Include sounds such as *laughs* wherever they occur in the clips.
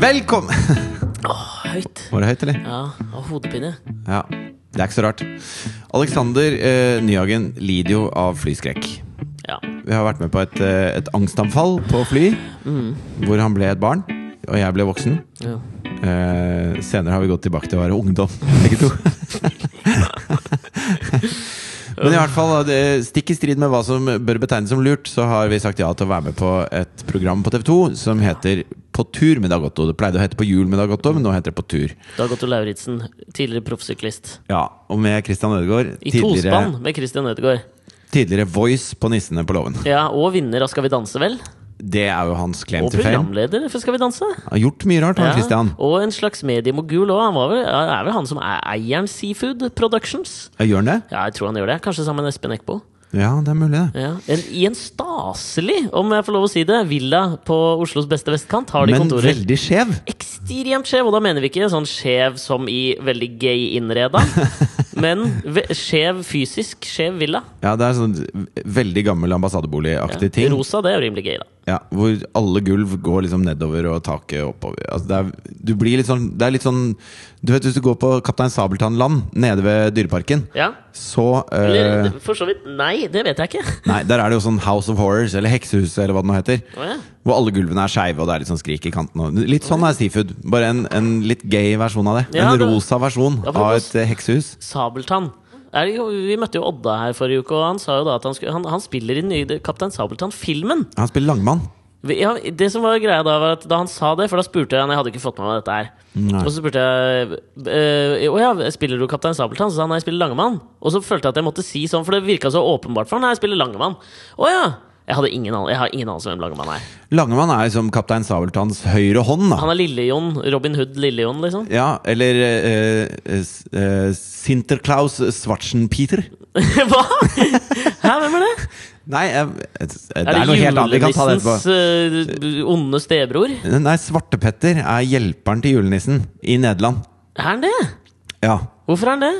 Velkommen Åh, høyt. *laughs* Var det høyt, eller? Ja, og hodepine. Ja. Det er ikke så rart. Alexander eh, Nyhagen lider jo av flyskrekk. Ja. Vi har vært med på et, eh, et angstanfall på fly, hvor han ble et barn, og jeg ble voksen. Mm. ja. Eh, senere har vi gått tilbake til å være ungdom, *laughs* begge to. Men i hvert fall, det- stikk i strid med hva som bør betegnes som lurt, så har vi sagt ja til å være med på et program på TV 2 som heter På tur med Dag Otto. Det pleide å hete På jul med Dag Otto, men nå heter det På tur. Dag Otto Lauritzen, tidligere proffsyklist. Ja, Og med Christian Ødegaard, I tidligere, tospann med Christian Ødegaard. tidligere voice på Nissene på låven. Ja, og vinner av Skal vi danse, vel? Det er jo hans claim Og to fame. programleder for Skal vi danse. Han har gjort mye rart, han Ja, Christian. og en slags mediemogul òg. Han var vel, er vel han som er eieren Seafood Productions? Ja, Gjør han det? Ja, jeg tror han gjør det. Kanskje sammen med Espen Eckbo. Ja, det er mulig, det. Ja. En, I en staselig, om jeg får lov å si det, villa på Oslos beste vestkant har de Men kontorer. veldig skjev. ekstremt skjev, og da mener vi ikke sånn skjev som i veldig gay innreda, men ve- skjev fysisk, skjev villa. Ja, det er sånn veldig gammel ambassadeboligaktig ting. Rosa, det er jo rimelig gay, da. Ja, hvor alle gulv går liksom nedover og taket oppover. Altså det, er, du blir litt sånn, det er litt sånn Du vet hvis du går på Kaptein Sabeltann-land nede ved Dyreparken, Ja. så eh, Eller for så vidt Nei, det vet jeg ikke. Nei, der er det jo sånn House of Horrors eller Heksehuset eller hva det nå heter. Å, ja. Hvor alle gulvene er skeive og det er litt sånn skrik i kanten. og- Litt sånn er Seafood. Bare en, en litt gay versjon av det. Ja, en det- rosa versjon Ja, for av det- et eh, heksehus. Sabeltann. Er det jo, vi møtte jo Odda her forrige uke, og han sa jo da at han, skulle, han, han spiller i den nye Kaptein Sabeltann-filmen. Han spiller langmann. Vi- Ja, det som var greia Da var at da han sa det, for da spurte jeg han Jeg hadde ikke fått med meg dette her. Nei. Og så spurte jeg eh, Å ja, spiller du Kaptein Sabeltann? Så sa han nei, jeg spiller Langemann. Og så følte jeg at jeg måtte si sånn, for det virka så åpenbart for han. Nei, jeg spiller Langemann. Å ja! Jeg, hadde ingen an jeg har ingen anelse om hvem Langemann er. Langemann er liksom Kaptein Sabeltanns høyre hånd. da Han er Lille-Jon. Robin Hood Lille-Jon, liksom. *laughs* Ja, eller eh, eh, s- eh, Sinterklaus Schwarzenpeter. Hva?! Hæ, hvem er det? Nei, jeg, jeg, det er, noe helt annet. Vi kan ta det etterpå. julenissens, eh, onde stebror? Nei, Svartepetter er hjelperen til julenissen i Nederland. Er han det? Ja. Hvorfor er han det?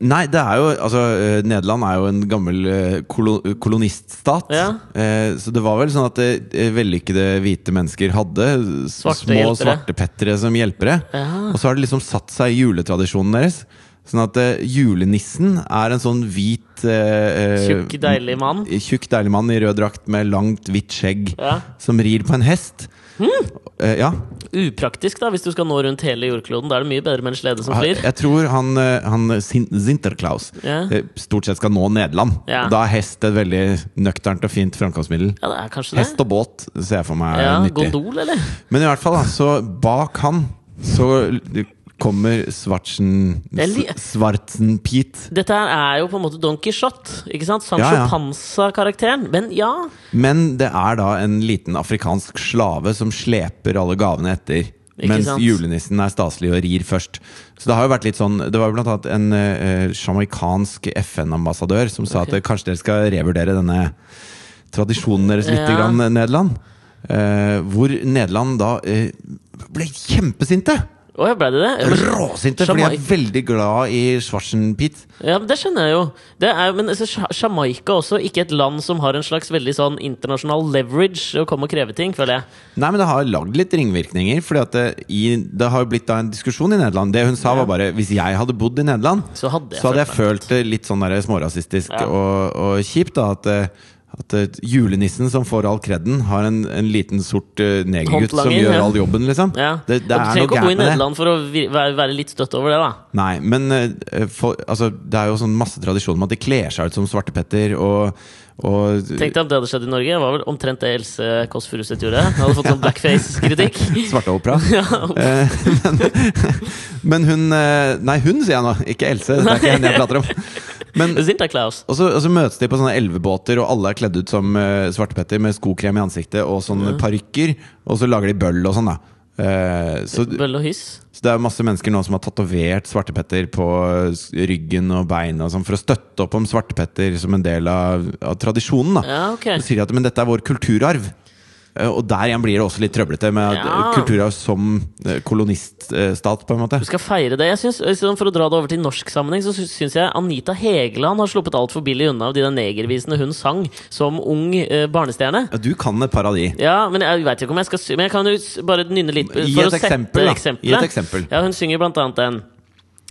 Nei, det er jo Altså, eh, Nederland er jo en gammel eh, kolo, koloniststat. Ja. Eh, så det var vel sånn at eh, vellykkede hvite mennesker hadde s- Svarte små hjelpere. svartepettere som hjelpere. Ja. Og så har det liksom satt seg i juletradisjonen deres. Sånn at eh, julenissen er en sånn hvit eh, eh, Tjukk, deilig mann. Tjukk, deilig mann i rød drakt med langt, hvitt skjegg Ja. Hm. som rir på en hest. Eh, ja. Upraktisk, da, hvis du skal nå rundt hele jordkloden. Da er det mye bedre med en slede som flyr. Ah, Jeg tror han, eh, han Sin- Sinterklaus Ja. eh, stort sett skal nå Nederland. Ja. Og Da er hest et veldig nøkternt og fint framkomstmiddel. Ja, det er kanskje det. Hest og båt ser jeg for meg er Ja, nyttig. Gondol, eller? Men i hvert fall, da, så bak han så kommer Svartsen Jeg li- Svartsen-Pete. Dette her er jo på en måte Don Quijote, ikke sant? Sancho Ja, ja. Panza-karakteren. Men ja, Men det er da en liten afrikansk slave som sleper alle gavene etter. Ikke mens sant? julenissen er staselig og rir først. Så Det har jo vært litt sånn Det var jo blant annet en uh, sjamaikansk FN-ambassadør som sa Ok. at eh, kanskje dere skal revurdere denne tradisjonen deres litt, Ja. grann, Nederland. Eh, hvor Nederland da eh, ble kjempesinte! å ja, ble det det? Men- Råsinte! Fordi jeg er veldig glad i Schwarzenpit. Ja, men Det skjønner jeg jo. Det er, jo- men altså, Sja- Jamaica også, ikke et land som har en slags veldig sånn internasjonal leverage å komme og kreve ting, føler jeg. Nei, men det har lagd litt ringvirkninger. Fordi at det, i, det har jo blitt da en diskusjon i Nederland. Det hun sa, var bare hvis jeg hadde bodd i Nederland, Så hadde jeg så hadde jeg følt meg følt det litt sånn der smårasistisk Ja. og, og kjipt. da At, eh, at eh, julenissen som får all kreden, har en, en liten sort eh, negergutt som Håndlanger, gjør ja. all jobben, liksom. Ja. Det, det og du er trenger noe ikke å gærent bo i med det. Nederland for å vi- være, være litt støtt over det, da. Nei, men eh, for, altså, det er jo sånn masse tradisjon med at de kler seg ut som svartepetter og, og Tenk deg om det hadde skjedd i Norge. Det var vel omtrent det Else Kåss Furuseth gjorde. Hun hadde fått sånn blackface-kritikk. *laughs* Svarteopera. Ja, Eh, *laughs* men, *laughs* men hun eh, Nei, hun sier jeg nå, ikke Else. Det er ikke henne jeg prater om. Men, Sinterklaus. og, så, og så møtes de på sånne elvebåter, og alle er kledd ut som eh, svartepetter med skokrem i ansiktet og sånne parykker. Og så lager de bøll og sånn, da. Eh, så, Bølle og hyss. så det er masse mennesker nå som har tatovert svartepetter på eh, ryggen og beina og sånn, for å støtte opp om svartepetter som en del av, av tradisjonen. da Ja, ok. Så sier de at men dette er vår kulturarv. Eh, Og der igjen blir det også litt trøblete med Ja. at kulturarv som eh, koloniststat, på en måte. Du skal feire det. Jeg synes, sånn For å dra det over til norsk sammenheng, så syns jeg Anita Hegeland har sluppet altfor billig unna av de der negervisene hun sang som ung eh, barnestjerne. Ja, Du kan et par av de. Ja, men jeg vet ikke om jeg skal sy Men jeg kan jo s- bare nynne litt eh, Gi for et å sette eksempel, da. eksempelet. Gi et eksempel. Ja, hun synger blant annet den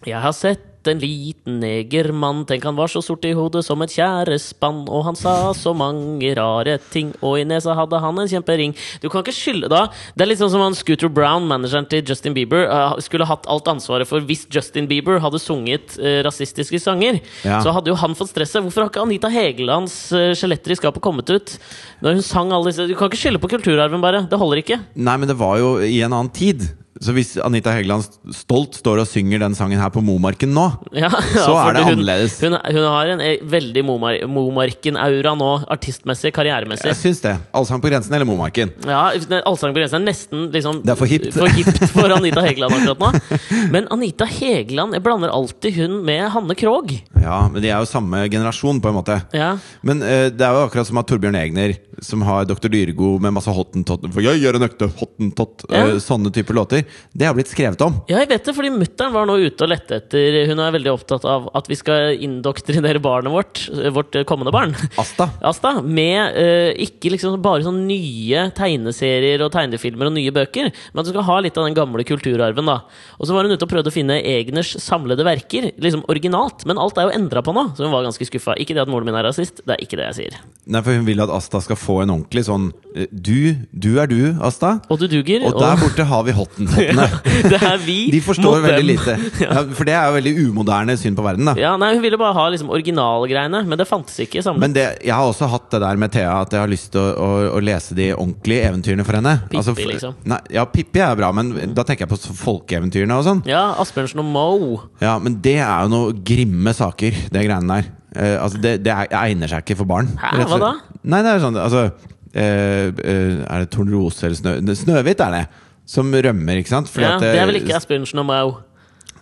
Jeg har sett en liten negermann, tenk han var så sort i hodet som et tjærespann, og han sa så mange rare ting, og i nesa hadde han en kjempering. Du kan ikke skylde da Det er litt sånn som han Scooter Brown, manageren til Justin Bieber, eh, skulle hatt alt ansvaret for hvis Justin Bieber hadde sunget eh, rasistiske sanger. Ja. Så hadde jo han fått stresset. Hvorfor har ikke Anita Hegelands eh, skjeletter i skapet kommet ut? Når hun sang alle disse Du kan ikke skylde på kulturarven, bare. Det holder ikke. Nei, men det var jo i en annen tid. Så hvis Anita Hegeland stolt står og synger den sangen her på Momarken nå *laughs* Ja, Så er for det hun- annerledes. Hun, hun har en eh, veldig Momar- Momarken-aura nå, artistmessig, karrieremessig. Jeg syns det. Allsang på grensen eller Momarken. Ja, Allsang på grensen er nesten liksom, Det er for hipt. for hipt *laughs* for Anita Hegeland akkurat nå. Men Anita Hegeland Jeg blander alltid hun med Hanne Krogh. Ja, men de er jo samme generasjon, på en måte. Ja. Men eh, det er jo akkurat som at Torbjørn Egner, som har Dr. Dyrgo med masse hottentott For jeg gjør en økte hottentott Ja. eh, Sånne typer låter. Det har blitt skrevet om. Ja, jeg vet det, fordi mutter'n var nå ute og lette etter Hun er veldig opptatt av at vi skal indoktrinere barnet vårt, vårt kommende barn. Asta. Asta, med eh, ikke liksom bare sånn nye tegneserier og tegnefilmer og nye bøker, men at du skal ha litt av den gamle kulturarven. da Og så var hun ute og prøvde å finne Egners samlede verker, liksom originalt, men alt er jo endra på nå, så hun var ganske skuffa. Ikke det at moren min er rasist, det er ikke det jeg sier. Nei, for hun vil at Asta skal få en ordentlig sånn eh, Du, du er du, Asta. Og du duger. Og der borte har vi hottentottene. *laughs* det er vi De forstår mot veldig dem. lite. *laughs* Ja, for det er jo veldig umoderne syn på verden, da. Ja, nei, Hun ville bare ha liksom originalgreiene, men det fantes ikke. Samlet. Men det, jeg har også hatt det der med Thea, at jeg har lyst til å, å, å lese de ordentlige eventyrene for henne. Altså, Pippi, f- liksom. Mm. Nei, ja, Pippi er bra, men da tenker jeg på så- folkeeventyrene og sånn. Ja, Asbjørnsen og Moe. Ja, men det er jo noe grimme saker, det greiene der. Eh, altså, det, det er- egner seg ikke for barn. Hæ, rett og hva da? slett. Nei, det er jo sånn, altså eh, eh, Er det Tornrose eller Snø... det- Snøhvit er det! Som rømmer, ikke sant? Fordi Ja, at, det eh, er vel ikke Asbjørnsen og Moe.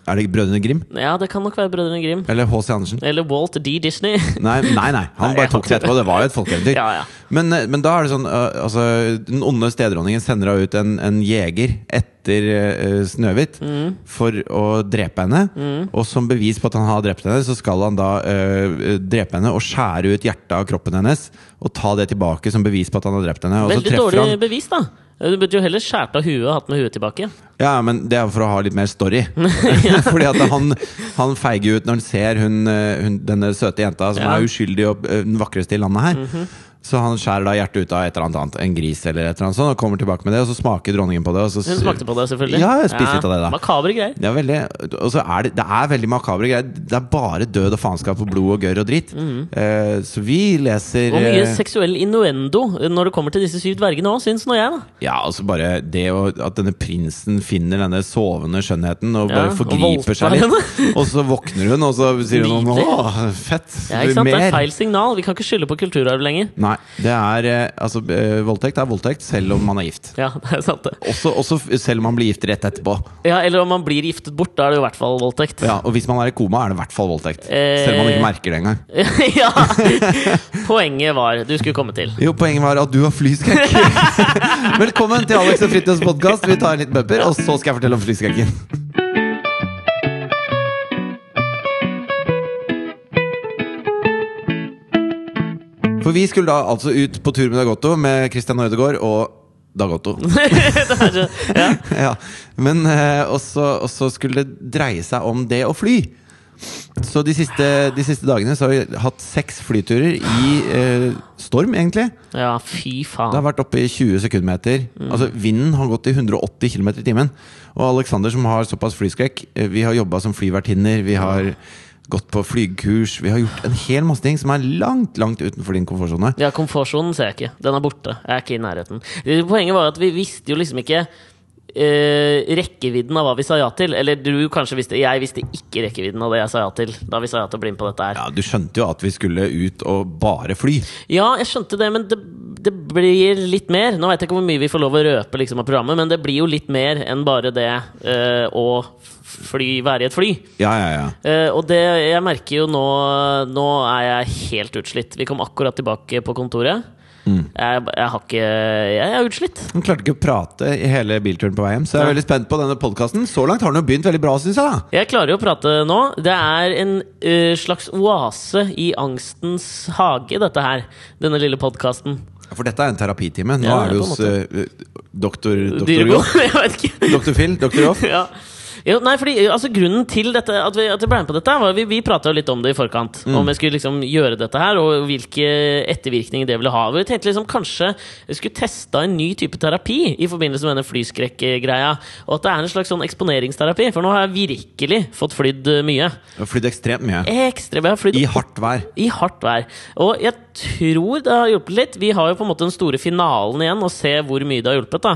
Er det Brødrene Grim? Ja, det kan nok være Brødrene Grim. Eller H.C. Andersen? Eller Walt D. Disney. *laughs* Nei, nei, nei. han Nei, bare jeg tok det håper- etterpå. Det var jo et folkeeventyr. Ja, ja. men, eh, men da er det sånn eh, altså, Den onde stedronningen sender da ut en, en jeger etter eh, Snøhvit Mm. for å drepe henne. Og som bevis på at han har drept henne, så skal han da eh, drepe henne og skjære ut hjertet av kroppen hennes. Og ta det tilbake som bevis på at han har drept henne. Og så Veldig treffer dårlig han bevis, da. Du burde jo heller skåret av huet og hatt med huet tilbake. Ja, men det er for å ha litt mer *laughs* story. *laughs* Fordi at han, han feiger ut når han ser hun, eh, hun, denne søte jenta som Ja. Mhm. er uskyldig og eh, den vakreste i landet her. Så han skjærer da hjertet ut av et eller annet annet, en gris eller et eller annet sånt, og kommer tilbake med det, og så smaker dronningen på det. Og så, Hun smakte på det, selvfølgelig. Ja, jeg spiste litt av det, da. Makabre greier. Det er veldig, og så er det, det er veldig makabre greier. Det er bare død og faenskap og blod og gørr og dritt. Eh, så vi leser Og Mhm. mye eh, seksuell innuendo når det kommer til disse syv dvergene òg, syns nå jeg, da. Ja, altså bare det å, at denne prinsen finner denne sovende skjønnheten og Ja, bare og forgriper seg voldtar litt. Og så våkner hun, og så sier hun Lider. åh, fett! Ja, ikke sant? Det er mer!» feil signal. Vi kan ikke skylde på kulturarv lenger. Nei, det er eh, altså eh, voldtekt er voldtekt selv om man er gift. Ja, *laughs* det er sant, det. Også, også f- selv om man blir gift rett etterpå. Ja, Eller om man blir giftet bort, da er det jo i hvert fall voldtekt. Ja, og hvis man er i koma, er det i hvert fall voldtekt. Selv om man Eh. ikke merker det engang. *laughs* ja. Poenget var Du skulle komme til. *laughs* Jo, poenget var at du har flyskrekk. *laughs* Velkommen til Alex og Fridtjofs podkast. Vi tar en liten bumper, og så skal jeg fortelle om flyskrekken. For vi skulle da altså ut på tur med Dagotto med Christian Ødegaard og Dagotto. det er så, ja. Ja, men eh, også, også skulle det dreie seg om det å fly. Så de siste, de siste dagene så har vi hatt seks flyturer i eh, storm, egentlig. ja, fy Det faen. har vært oppe i 20 sekundmeter. Mm. Altså Vinden har gått i 180 km i timen. Og Alexander, som har såpass flyskrekk eh, Vi har jobba som flyvertinner, vi har gått på flygkurs, vi har gjort en hel masse ting som er langt, langt utenfor din komfortsone. Ja, komfortsonen ser jeg ikke. Den er borte. Jeg er ikke i nærheten. Eh, Poenget var at vi visste jo liksom ikke eh, rekkevidden av hva vi sa ja til. Eller du kanskje visste Jeg visste ikke rekkevidden av det jeg sa ja til da vi sa ja til å bli med på dette her. Ja, Du skjønte jo at vi skulle ut og bare fly. Ja, jeg skjønte det, men det, det blir litt mer. Nå veit jeg ikke hvor mye vi får lov å røpe liksom, av programmet, men det blir jo litt mer enn bare det eh, å fly, være i et fly. Ja, ja, ja. Eh, og det, jeg merker jo nå Nå er jeg helt utslitt. Vi kom akkurat tilbake på kontoret. Jeg, jeg har ikke Jeg er utslitt. Han klarte ikke å prate i hele bilturen på vei hjem, så jeg er veldig spent på denne podkasten. Så langt har den jo begynt veldig bra, syns jeg. da Jeg klarer jo å prate nå. Det er en eh, slags oase i angstens hage, dette her. Denne lille podkasten. For dette er en terapitime. Nå Ja, er du på en hos måte. eh, doktor Doktor Dyreblod? Joff. *laughs* Jeg vet ikke. Doktor Phil. Doktor Joff. *laughs* ja. Jo, nei, fordi altså, Grunnen til dette, at, vi, at jeg ble med på dette, var vi, vi prata litt om det i forkant. Mm. Om jeg skulle liksom gjøre dette her, og hvilke ettervirkninger det ville ha. Vi tenkte liksom kanskje vi skulle testa en ny type terapi i forbindelse med denne flyskrekkgreia. Og at det er en slags sånn eksponeringsterapi, for nå har jeg virkelig fått flydd eh, mye. Du har flydd ekstremt mye. Ekstremt. Jeg har flydd I hardt vær. i hardt vær. Og jeg tror det har hjulpet litt. Vi har jo på en måte den store finalen igjen, og se hvor mye det har hjulpet. da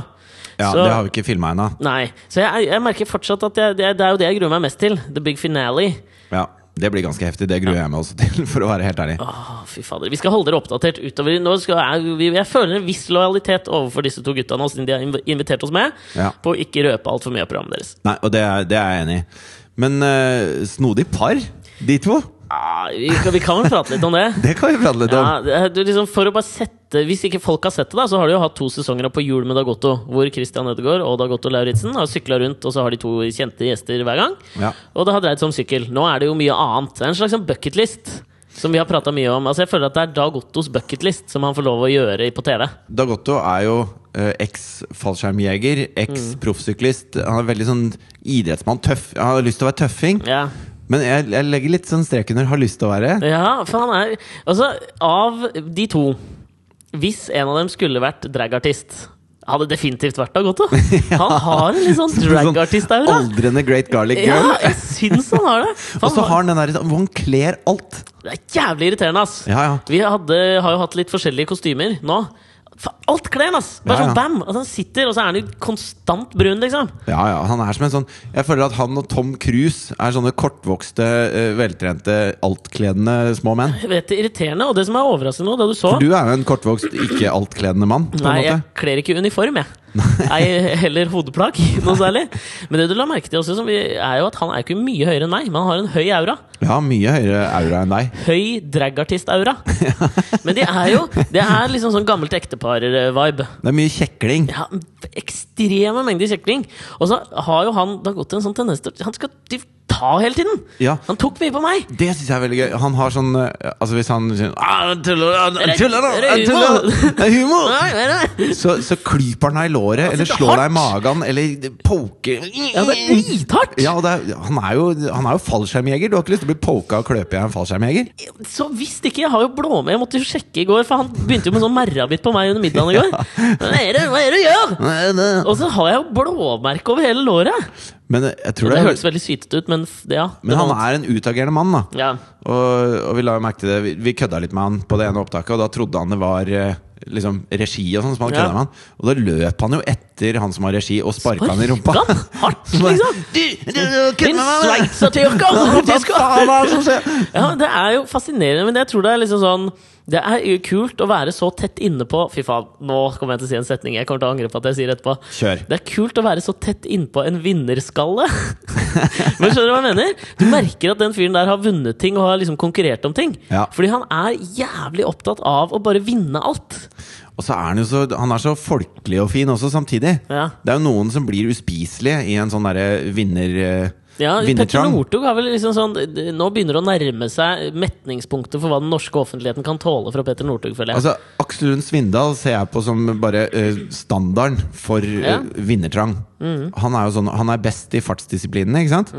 Ja, Så- Det har vi ikke filma ennå. Nei. Så jeg, jeg merker fortsatt at jeg, det, er- det er jo det jeg gruer meg mest til. The big finale. Ja, det blir ganske heftig. Det gruer jeg meg også *laughs* til, for å være helt ærlig. Åh, fy fader. Vi skal holde dere oppdatert utover. Nå skal jeg, vi- jeg føler en viss lojalitet overfor disse to gutta nå, siden de har inv- invitert oss med, Ja. på å ikke røpe altfor mye av programmet deres. Nei, og det er, det er jeg enig i. Men eh, snodig par, de to. *laughs* Ah, vi, kan- vi kan vel prate litt om det? Det kan vi prate litt om. Ja, det- du, liksom, for å bare sette Hvis ikke folk har sett det, da, så har de jo hatt to sesonger på jul med Dagotto, hvor Christian Ødegaard og Dagotto Lauritzen har sykla rundt, og så har de to kjente gjester hver gang. Ja. Og det har dreid seg om sykkel. Nå er det jo mye annet. Det er en slags sånn bucketlist. Som vi har prata mye om. Altså Jeg føler at det er Dag Ottos bucketlist som han får lov å gjøre på TV. Dagotto er jo eh, eks-fallskjermjeger, eks-proffsyklist. Mm. Han er veldig sånn idrettsmann. Tøff. Han har lyst til å være tøffing. Ja, Men jeg, jeg legger litt sånn strek under 'har lyst til å være'. ja for han er Altså, av de to Hvis en av dem skulle vært dragartist hadde definitivt vært Dag *laughs* Otto. Han har en litt sånn dragartist-aura. Sånn Aldrende Great Garlic Ja, Girl. jeg syns han har det. *laughs* For Og så han har han den der hvor han kler alt. Det er jævlig irriterende, ass. Ja, ja. Vi hadde, har jo hatt litt forskjellige kostymer nå. Fa- Alt kler han, ass! Bare Ja, ja. sånn bam! At han sitter, og så er han jo konstant brun, liksom. Ja, ja, han er som en sånn Jeg føler at han og Tom Cruise er sånne kortvokste, eh, veltrente, altkledende små menn. Jeg vet det er irriterende, og det som er overraskende nå, da du så For du er jo en kortvokst, ikke altkledende mann. På Nei, jeg en måte. kler ikke *laughs* uniform, jeg. Ei heller hodeplagg, *laughs* noe særlig. Men det du la merke til også, som vi, er jo at han er ikke mye høyere enn meg, men han har en høy aura. Ja, mye høyere aura enn deg. Høy dragartist-aura. *laughs* Men de er jo Det er liksom sånn gammelt ektepar-vibe. Det er mye kjekling. Ja, ekstreme mengder kjekling. Og så har jo han da gått en sånn tendens til at Han skal de- ta hele tiden! Ja. Han tok mye på meg! Det syns jeg er veldig gøy. Han har sånn eh, Altså Hvis han sier «Ah, han tuller, han- han tuller, nå! Er det Han humor?» tuller! Det er humor! Nei, nei, nei. Så, så klyper han deg i låret, eller sitter slår hardt. deg i magen, eller poker Ja, det er drithardt! Ja, og det er, han er jo, han er jo fallskjermjeger. Du har ikke lyst til å bli poka og kløpet av en fallskjermjeger? Så visst ikke! Jeg har jo blåme. Jeg måtte jo sjekke i går, for han begynte jo med sånn merrabitt på meg under middagen i går. Hva er det, hva er det du gjør?! Og så har jeg jo blåmerke over hele låret! Men jeg tror Det det, høres veldig sytete ut, men f- det, ja. Men han er en utagerende mann, da. ja. Og, og vi la jo merke til det vi, vi kødda litt med han på det ene opptaket, og da trodde han det var eh, liksom regi og sånn. som han Ja. kødda med han Og da løp han jo etter han som har regi, og sparka han i rumpa. Sparka han hardt, liksom? Du, *laughs* du, du kødder Din med meg! *laughs* sveitsertyrker! faen er det som skjer? Ja, det er jo fascinerende, men jeg tror det er liksom sånn Det er jo kult å være så tett inne på Fy faen, nå kommer jeg til å si en setning jeg kommer til å angre på at jeg sier etterpå. Kjør. Det er kult å være så tett innpå en vinnerskalle. *laughs* men skjønner du hva jeg mener? Du merker at den fyren der har vunnet ting og har liksom konkurrert om ting. Ja. Fordi han er jævlig opptatt av å bare vinne alt. Og så er han jo så Han er så folkelig og fin også, samtidig. Ja. Det er jo noen som blir uspiselige i en sånn derre vinner... eh, Ja, Petter vinnertrang. Northug har vel liksom sånn d- Nå begynner det å nærme seg metningspunktet for hva den norske offentligheten kan tåle fra Petter Northug, føler jeg. Altså, Aksel Lund Svindal ser jeg på som bare eh, standarden for eh, Ja. Mm. vinnertrang. Han er jo sånn, han er best i fartsdisiplinene, ikke sant?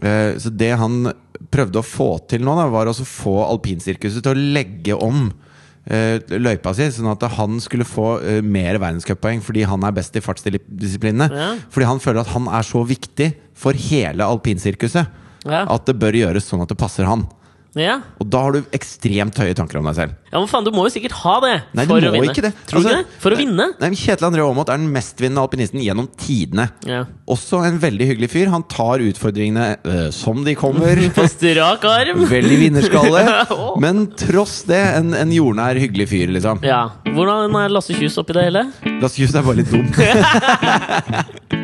Eh, så det han prøvde å få til nå, da, var å få alpinsirkuset til å legge om eh, løypa si, sånn at han skulle få eh, mer verdenscuppoeng fordi han er best i fartsdisiplinene. Ja. Fordi han føler at han er så viktig for hele alpinsirkuset Ja. at det bør gjøres sånn at det passer han. ja. Og da har du ekstremt høye tanker om deg selv. Ja, men faen, Du må jo sikkert ha det Nei, for du å må vinne. ikke det. Tror du Altså, ikke det? For å vinne? Nei, men Kjetil André Aamodt er den mestvinnende alpinisten gjennom tidene. Ja. Også en veldig hyggelig fyr. Han tar utfordringene øh, som de kommer. *laughs* På strak arm. Veldig *laughs* vinnerskalle. Åh. Men tross det en, en jordnær, hyggelig fyr, liksom. Ja. Hvordan er Lasse Kjus oppi det hele? Lasse Kjus er bare litt *laughs* dum.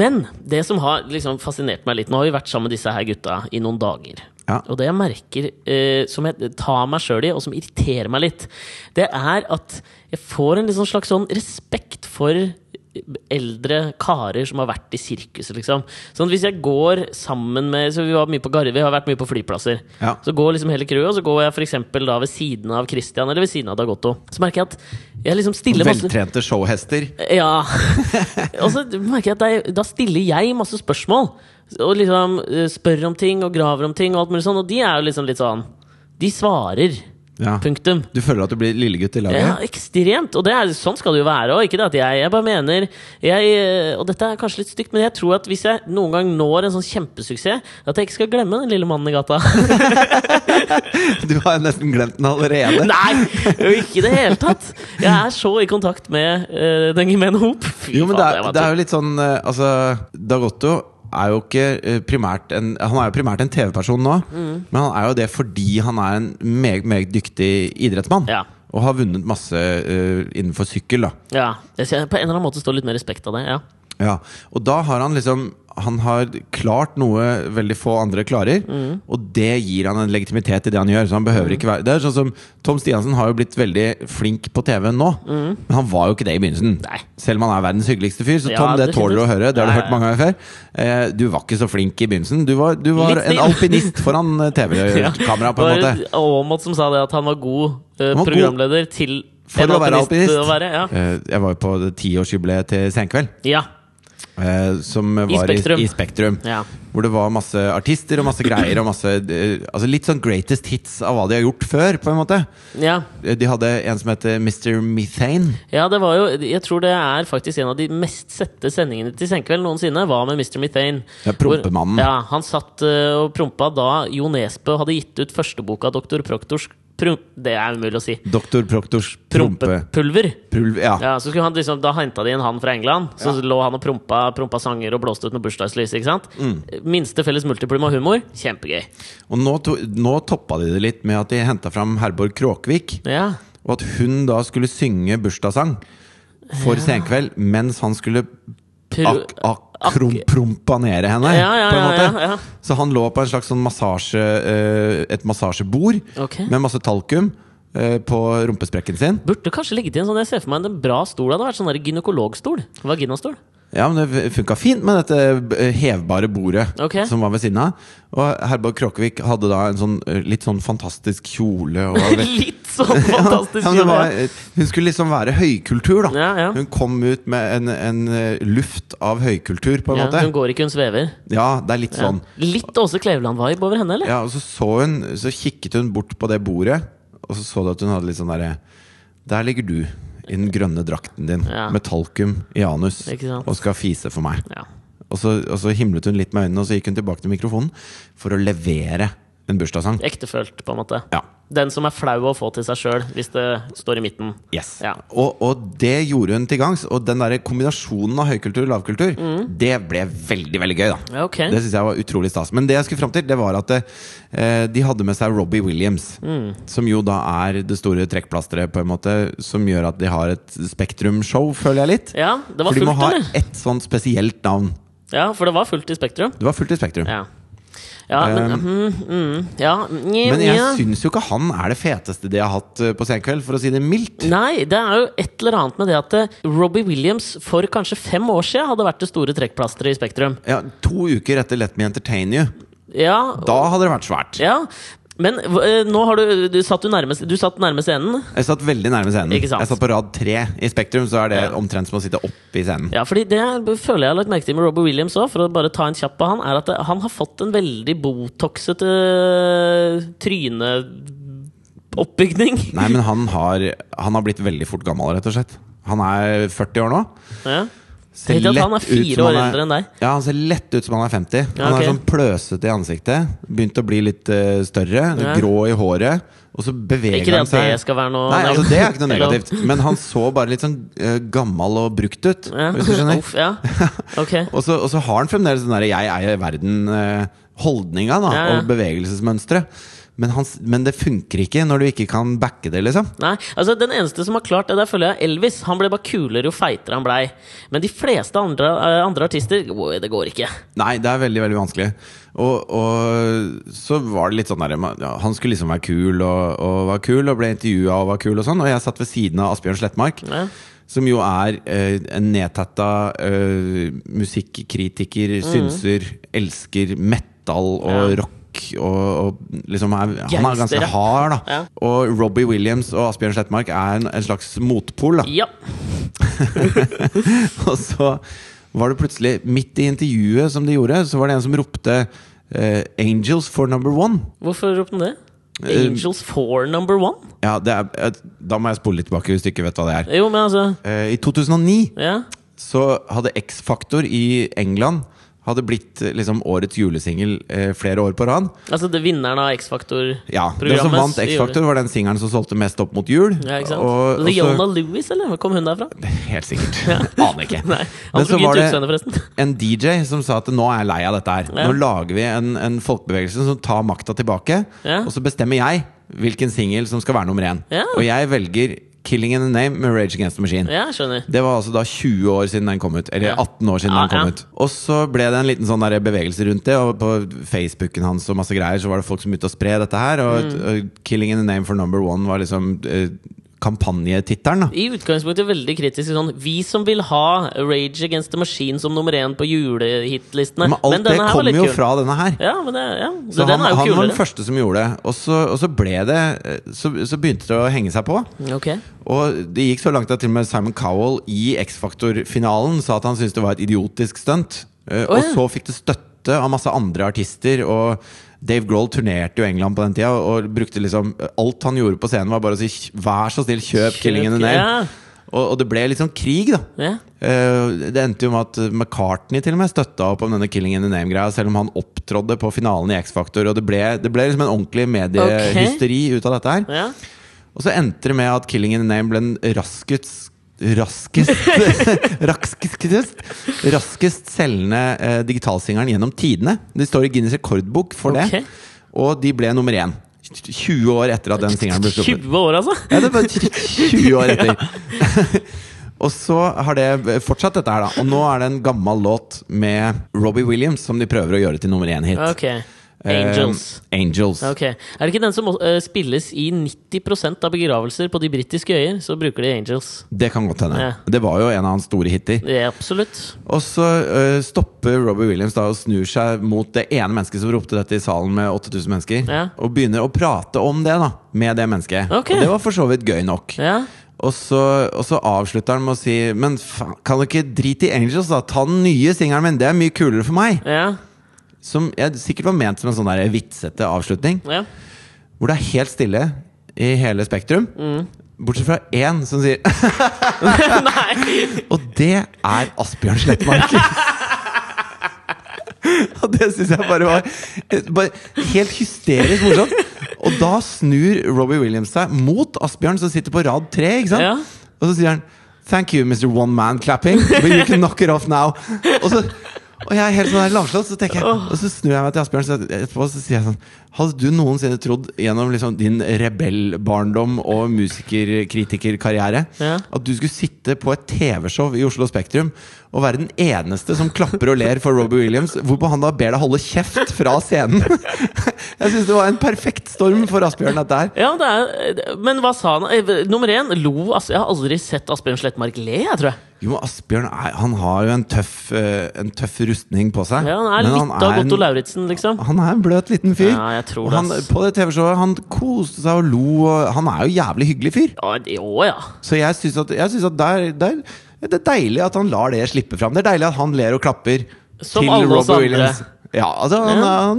Men det som har liksom fascinert meg litt Nå har vi vært sammen med disse her gutta i noen dager. Ja. Og det jeg merker, eh, som jeg tar meg sjøl i, og som irriterer meg litt, det er at jeg får en liksom slags sånn respekt for eldre karer som har vært i sirkuset, liksom. Sånn at hvis jeg går sammen med Så vi, var mye på, Garve- vi har vært mye på flyplasser. Ja. Så går liksom hele crewet, og så går jeg for eksempel da ved siden av Christian eller ved siden av Dagotto. Så merker jeg at jeg liksom stiller masse Veltrente showhester. ja. Og så merker jeg at det er- da stiller jeg masse spørsmål. Og liksom eh, spør om ting og graver om ting, og alt mulig sånn. Og de er jo liksom litt sånn De svarer. Ja. Punktum. Du føler at du blir lillegutt i Ja, laget? ekstremt. Og det er, sånn skal det jo være òg. Ikke det at jeg, jeg bare mener jeg, eh, Og dette er kanskje litt stygt, men jeg tror at hvis jeg noen gang når en sånn kjempesuksess, at jeg ikke skal glemme den lille mannen i gata. *laughs* *laughs* Du har nesten glemt den allerede. Nei! jo, Ikke i det hele tatt! Jeg er så i kontakt med eh, den gemene hop. Fy Jo, men det faen, er, jeg var det er jo litt sånn eh, Altså, Dagotto er jo ikke eh, primært en Han er jo primært en TV-person nå, Mm. men han er jo det fordi han er en meget, meget dyktig idrettsmann. Ja. Og har vunnet masse eh, innenfor sykkel, da. Ja, jeg ser på en eller annen måte står litt mer respekt av det. Ja. Ja, og da har han liksom han har klart noe veldig få andre klarer, Mm. og det gir han en legitimitet i det han gjør. Så han behøver ikke være Det er sånn som Tom Stiansen har jo blitt veldig flink på TV nå, men han var jo ikke det i begynnelsen. Mm. Nei. Selv om han er verdens hyggeligste fyr, så Ja, Tom, det definitivt. tåler du å høre. Det har du Ja, ja. hørt mange ganger før. Eh, du var ikke så flink i begynnelsen. Du var, du var Litt snill. en alpinist foran *laughs* TV-kameraet, Eh, på en Det måte. var Aamodt som sa det, at han var god eh, Han var god programleder til for en å være alpinist. Å være, ja. Eh, jeg var jo på det tiårsjubileet til Senkveld, Ja, eh, som var i Spektrum. I Spektrum. ja. Hvor det var masse artister og masse greier. Og masse, eh, altså litt sånn greatest hits av hva de har gjort før. på en måte ja. Eh, De hadde en som heter Mr. Methane. Ja, det var jo Jeg tror det er faktisk en av de mest sette sendingene til Senkveld noensinne, var med Mr. Methane. Ja, prompemannen. Hvor- Ja, han satt eh, og prompa da Jo Nesbø hadde gitt ut førsteboka Dr. Proktors prom... Det er umulig å si. Dr. Proktors prompe... Prompepulver. Prul, ja. Ja, så skulle han liksom, Da henta de inn han fra England. Så lå han og prompa, prompa sanger og blåste ut med bursdagslys. ikke sant? Mm. Minste felles multiplum av humor. Kjempegøy. Og nå, to, nå toppa de det litt med at de henta fram Herborg Kråkvik. Ja, Og at hun da skulle synge bursdagssang for Senkveld mens han skulle Pro- ak, ak, krom, prompanere henne. Ja, ja, på en ja, måte. ja, ja. Så han lå på en slags sånn massasje, eh, et massasjebord Ok. med masse talkum eh, på rumpesprekken sin. Burde kanskje ligget i en sånn jeg ser for meg en bra stol. Det hadde vært sånn der gynekologstol. Vaginastol. Ja, men det funka fint med dette eh, hevbare bordet Ok. som var ved siden av. Og Herborg Kråkevik hadde da en sånn eh, litt sånn fantastisk kjole. Og *laughs* var veldig- Litt sånn fantastisk. Ja, men det var, kjole. eh, hun skulle liksom være høykultur, da. Ja, ja. Hun kom ut med en, en eh, luft av høykultur, på en ja, hun måte. går ikke, hun svever. Ja, det er litt Ja. sånn. Litt Åse Kleveland-vibe over henne, eller? Ja, og så så hun Så kikket hun bort på det bordet Og så så du at hun hadde litt sånn derre Der ligger du i den grønne drakten din Ja. Med talkum i anus Ikke sant? Og skal fise for meg Ja. og så, og så himlet hun litt med øynene Og så gikk hun tilbake til mikrofonen For å levere en bursdagssang Ektefølt, på en måte. Ja, Den som er flau å få til seg sjøl, hvis det står i midten. yes Ja. og, og det gjorde hun til gangs Og den der kombinasjonen av høykultur og lavkultur Mm. Det ble veldig, veldig gøy da Ja, Ok. Det synes jeg var utrolig stas. Men det jeg skulle fram til, det var at eh, de hadde med seg Robbie Williams. Mm. Som jo da er det store trekkplasteret, på en måte, som gjør at de har et Spektrum-show, føler jeg litt. Ja, det var For de må ha fullt, eller? ett sånt spesielt navn. Ja, for det var fullt i Spektrum. Det var fullt i Spektrum. Ja. Ja, men Um, mm, mm, Ja, nja, Men jeg nja. syns jo ikke han er det feteste de har hatt eh, på Senkveld, for å si det mildt. Nei, det er jo et eller annet med det at eh, Robbie Williams for kanskje fem år siden hadde vært det store trekkplasteret i Spektrum. Ja, to uker etter Let Me Entertain You. Ja, Da hadde det vært svært. ja. Men hv- eh, nå har du Du satt, jo nærmest, du satt nærmest enden. Jeg satt veldig nærme scenen. Ikke Jeg sant? satt på rad tre i Spektrum, så er det Ja. omtrent som å sitte oppe i scenen. Ja, fordi det føler jeg har lagt merke til med Robbie Williams òg, for å bare ta en kjapp på han, er at eh, han har fått en veldig botoxete eh, tryneoppbygning. Nei, men han har, han har blitt veldig fort gammel, rett og slett. Han er 40 år nå. Ja. Ser Tenk deg at han lett er ut fire som år han er- eldre enn deg. Ja, han ser lett ut som han er 50. Ja, Han ok. er sånn pløsete i ansiktet. Begynt å bli litt eh, større. Ja. Grå i håret. Og så beveger Ikke det han at det seg skal være noe Nei, altså Det er ikke noe *laughs* Eller- negativt. Men han så bare litt sånn eh, gammel og brukt ut. Ja. Hvis du skjønner. *laughs* Uff, *laughs* ja. Ok. Og så, og så eh, har han fremdeles den derre 'jeg eier verden'-holdninga Ja, ja. og bevegelsesmønsteret. Men, han, s- men det funker ikke når du ikke kan backe det, liksom. Nei, altså Den eneste som har klart det der, føler jeg Elvis. Han ble bare kulere jo feitere han blei. Men de fleste andre, eh, andre artister wow, Det går ikke. Nei, det er veldig, veldig vanskelig. Og, og så var det litt sånn der ja, Han skulle liksom være kul og, og var kul, og ble intervjua og var kul og sånn. Og jeg satt ved siden av Asbjørn Slettmark, Ja. som jo er eh, en nedtatta eh, musikkritiker, Mm. synser, elsker metal og rock. Og, og liksom er, han er ganske Gangsterrap. hard, da. Ja. Og Robbie Williams og Asbjørn Slettmark er en, en slags motpol. da Ja. *laughs* og så var det plutselig, midt i intervjuet som de gjorde, så var det en som ropte eh, 'Angels for number one'. Hvorfor ropte han det? Eh, Angels for number one? Ja, det er, eh, da må jeg spole litt tilbake hvis du ikke vet hva det er. Jo, men altså Eh, I 2009 Ja. så hadde X-Faktor i England hadde blitt eh, liksom årets julesingel eh, flere år på rad. Altså det vinneren av X-Faktor-programmet. Ja, Det som vant X-Faktor, var den singelen som solgte mest opp mot jul. Ja, ikke sant? Og- Og, og så- Jonah Louis, eller? Hvor kom hun derfra? *laughs* Helt sikkert. Aner ikke. *laughs* Nei, Men Han så skulle var gitt det- utseende, forresten. *laughs* en DJ som sa at nå er jeg lei av dette her. Ja. Nå lager vi en, en folkebevegelse som tar makta tilbake, Ja. og så bestemmer jeg hvilken singel som skal være nummer én. Ja. Og jeg velger 'Killing in the Name' med Rage Against the Machine. Ja, jeg skjønner. Det var altså da 20 år siden den kom ut. Eller Ja. 18 år siden Ja, den kom ja. ut. Og så ble det en liten sånn der bevegelse rundt det, og på Facebooken hans og masse greier så var det folk som begynte å spre dette her, Mm. og, og 'Killing in the Name for number one' var liksom eh, kampanjetittelen, da. I utgangspunktet veldig kritisk. Sånn, vi som vil ha Rage Against the Machine som nummer én på julehitlistene. Men alt det her var litt kommer jo kul. fra denne her. Ja, men det, ja. Så han, den er jo han var den kulere. første som gjorde det. Og så, og så ble det eh, så, så begynte det å henge seg på. Ok. Og det gikk så langt at til og med Simon Cowell i X-Factor-finalen sa at han syntes det var et idiotisk stunt. Eh, Å, og ja. så fikk det støtte av masse andre artister. Og Dave Grohl turnerte jo England på den tida og brukte liksom Alt han gjorde på scenen, var bare å si 'vær så snill, kjøp, Kjøp, 'Killing in the Name'. ja. Og, og det ble litt sånn krig, da. Ja. Eh, Det endte jo med at McCartney til og med støtta opp om denne Killing in the Name-greia, selv om han opptrådde på finalen i X-Factor. Og det ble, det ble liksom en ordentlig mediehysteri ut av dette her. Ja. Og så endte det med at Killing in the Name ble den raskest Raskest *laughs* Raskest, raskest selgende eh, digitalsingelen gjennom tidene. De står i Guinness rekordbok for Ok. det. Og de ble nummer én. 20 år etter at den singelen ble sluppet. 20 år, altså! Ja, det var 20 år *laughs* etter. *laughs* Og så har det fortsatt dette her, da. Og nå er det en gammel låt med Robbie Williams som de prøver å gjøre til nummer én hit. Ok. Angels. Eh, Angels. Ok, Er det ikke den som eh, spilles i 90 av begravelser på de britiske øyer? Så bruker de Angels. Det kan godt hende. Ja. Det var jo en av hans store hiter. Det er absolutt. Og så eh, stopper Robbie Williams da og snur seg mot det ene mennesket som ropte dette i salen med 8000 mennesker, Ja. og begynner å prate om det da med det mennesket. Ok. Og det var for så vidt gøy nok. Ja. Og så, og så avslutter han med å si Men faen, kan du ikke drite i Angels, da? Ta den nye singelen min, det er mye kulere for meg! Ja. Som jeg sikkert var ment som en sånn der vitsete avslutning. ja. *laughs* Hvor det er helt stille i hele Spektrum. Bortsett fra én som sier *laughs* Nei! Og det er Asbjørn Slettmark! *laughs* Og det syns jeg bare var bare helt hysterisk morsomt. Og da snur Robbie Williams seg mot Asbjørn, som sitter på rad tre. Ikke sant? Ja. Og så sier han Thank you, Mr. One Man Clapping, but you can knock it off now. Og, så, og jeg er helt sånn her lamslått, så tenker jeg Og så snur jeg meg til Asbjørn, så etterpå så sier jeg sånn Hadde du noensinne trodd gjennom liksom din rebellbarndom og musikerkritikerkarriere Ja. at du skulle sitte på et TV-show i Oslo Spektrum og være den eneste som klapper og ler for Robbie Williams, hvorpå han da ber deg holde kjeft fra scenen? *laughs* Jeg syns det var en perfekt storm for Asbjørn, dette her. Ja, det er, men hva sa han? Eh, Nummer én, lo As Jeg har aldri sett Asbjørn Slettmark le, jeg tror jeg. Jo, men Asbjørn er, han har jo en tøff, eh, en tøff rustning på seg. Ja, han er Men litt av en- Otto Lauritzen, liksom. Han er en bløt liten fyr. Ja, jeg tror og det, han, ass. på det TV-showet han koste seg og lo. Og han er jo jævlig hyggelig fyr. Ja, det- Å ja. Så jeg syns at, jeg synes at der, der, det er deilig at han lar det slippe fram. Det er deilig at han ler og klapper Som til alle oss Robbie andre. Williams. Ja, altså han, han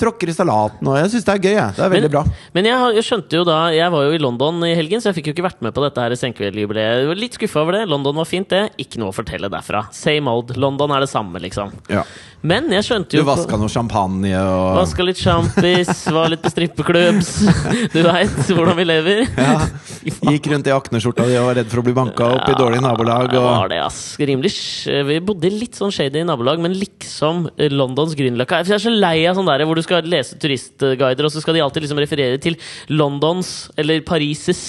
tråkker i salaten, og jeg syns det er gøy. Jeg. Det er veldig bra. Men jeg, har- jeg skjønte jo da Jeg var jo i London i helgen, så jeg fikk jo ikke vært med på dette her senkveldjubileet. Jeg var Litt skuffa over det. London var fint, det. Ikke noe å fortelle derfra. Same old. London er det samme, liksom. Ja. Men jeg skjønte Du jo vaska noe champagne og Vaska litt sjampis, var litt på strippeklubbs. *laughs* Du veit hvordan vi lever. *laughs* ja, *laughs* Gikk rundt i akneskjorta di og var redd for å bli banka opp i dårlige nabolag. Det var Og, det, ass. Rimelig sj- Vi bodde i litt sånn shady nabolag, men liksom eh, Londons Grünerløkka. Jeg er så lei av sånn der hvor du skal lese turistguider, og så skal de alltid liksom referere til Londons eller Parises,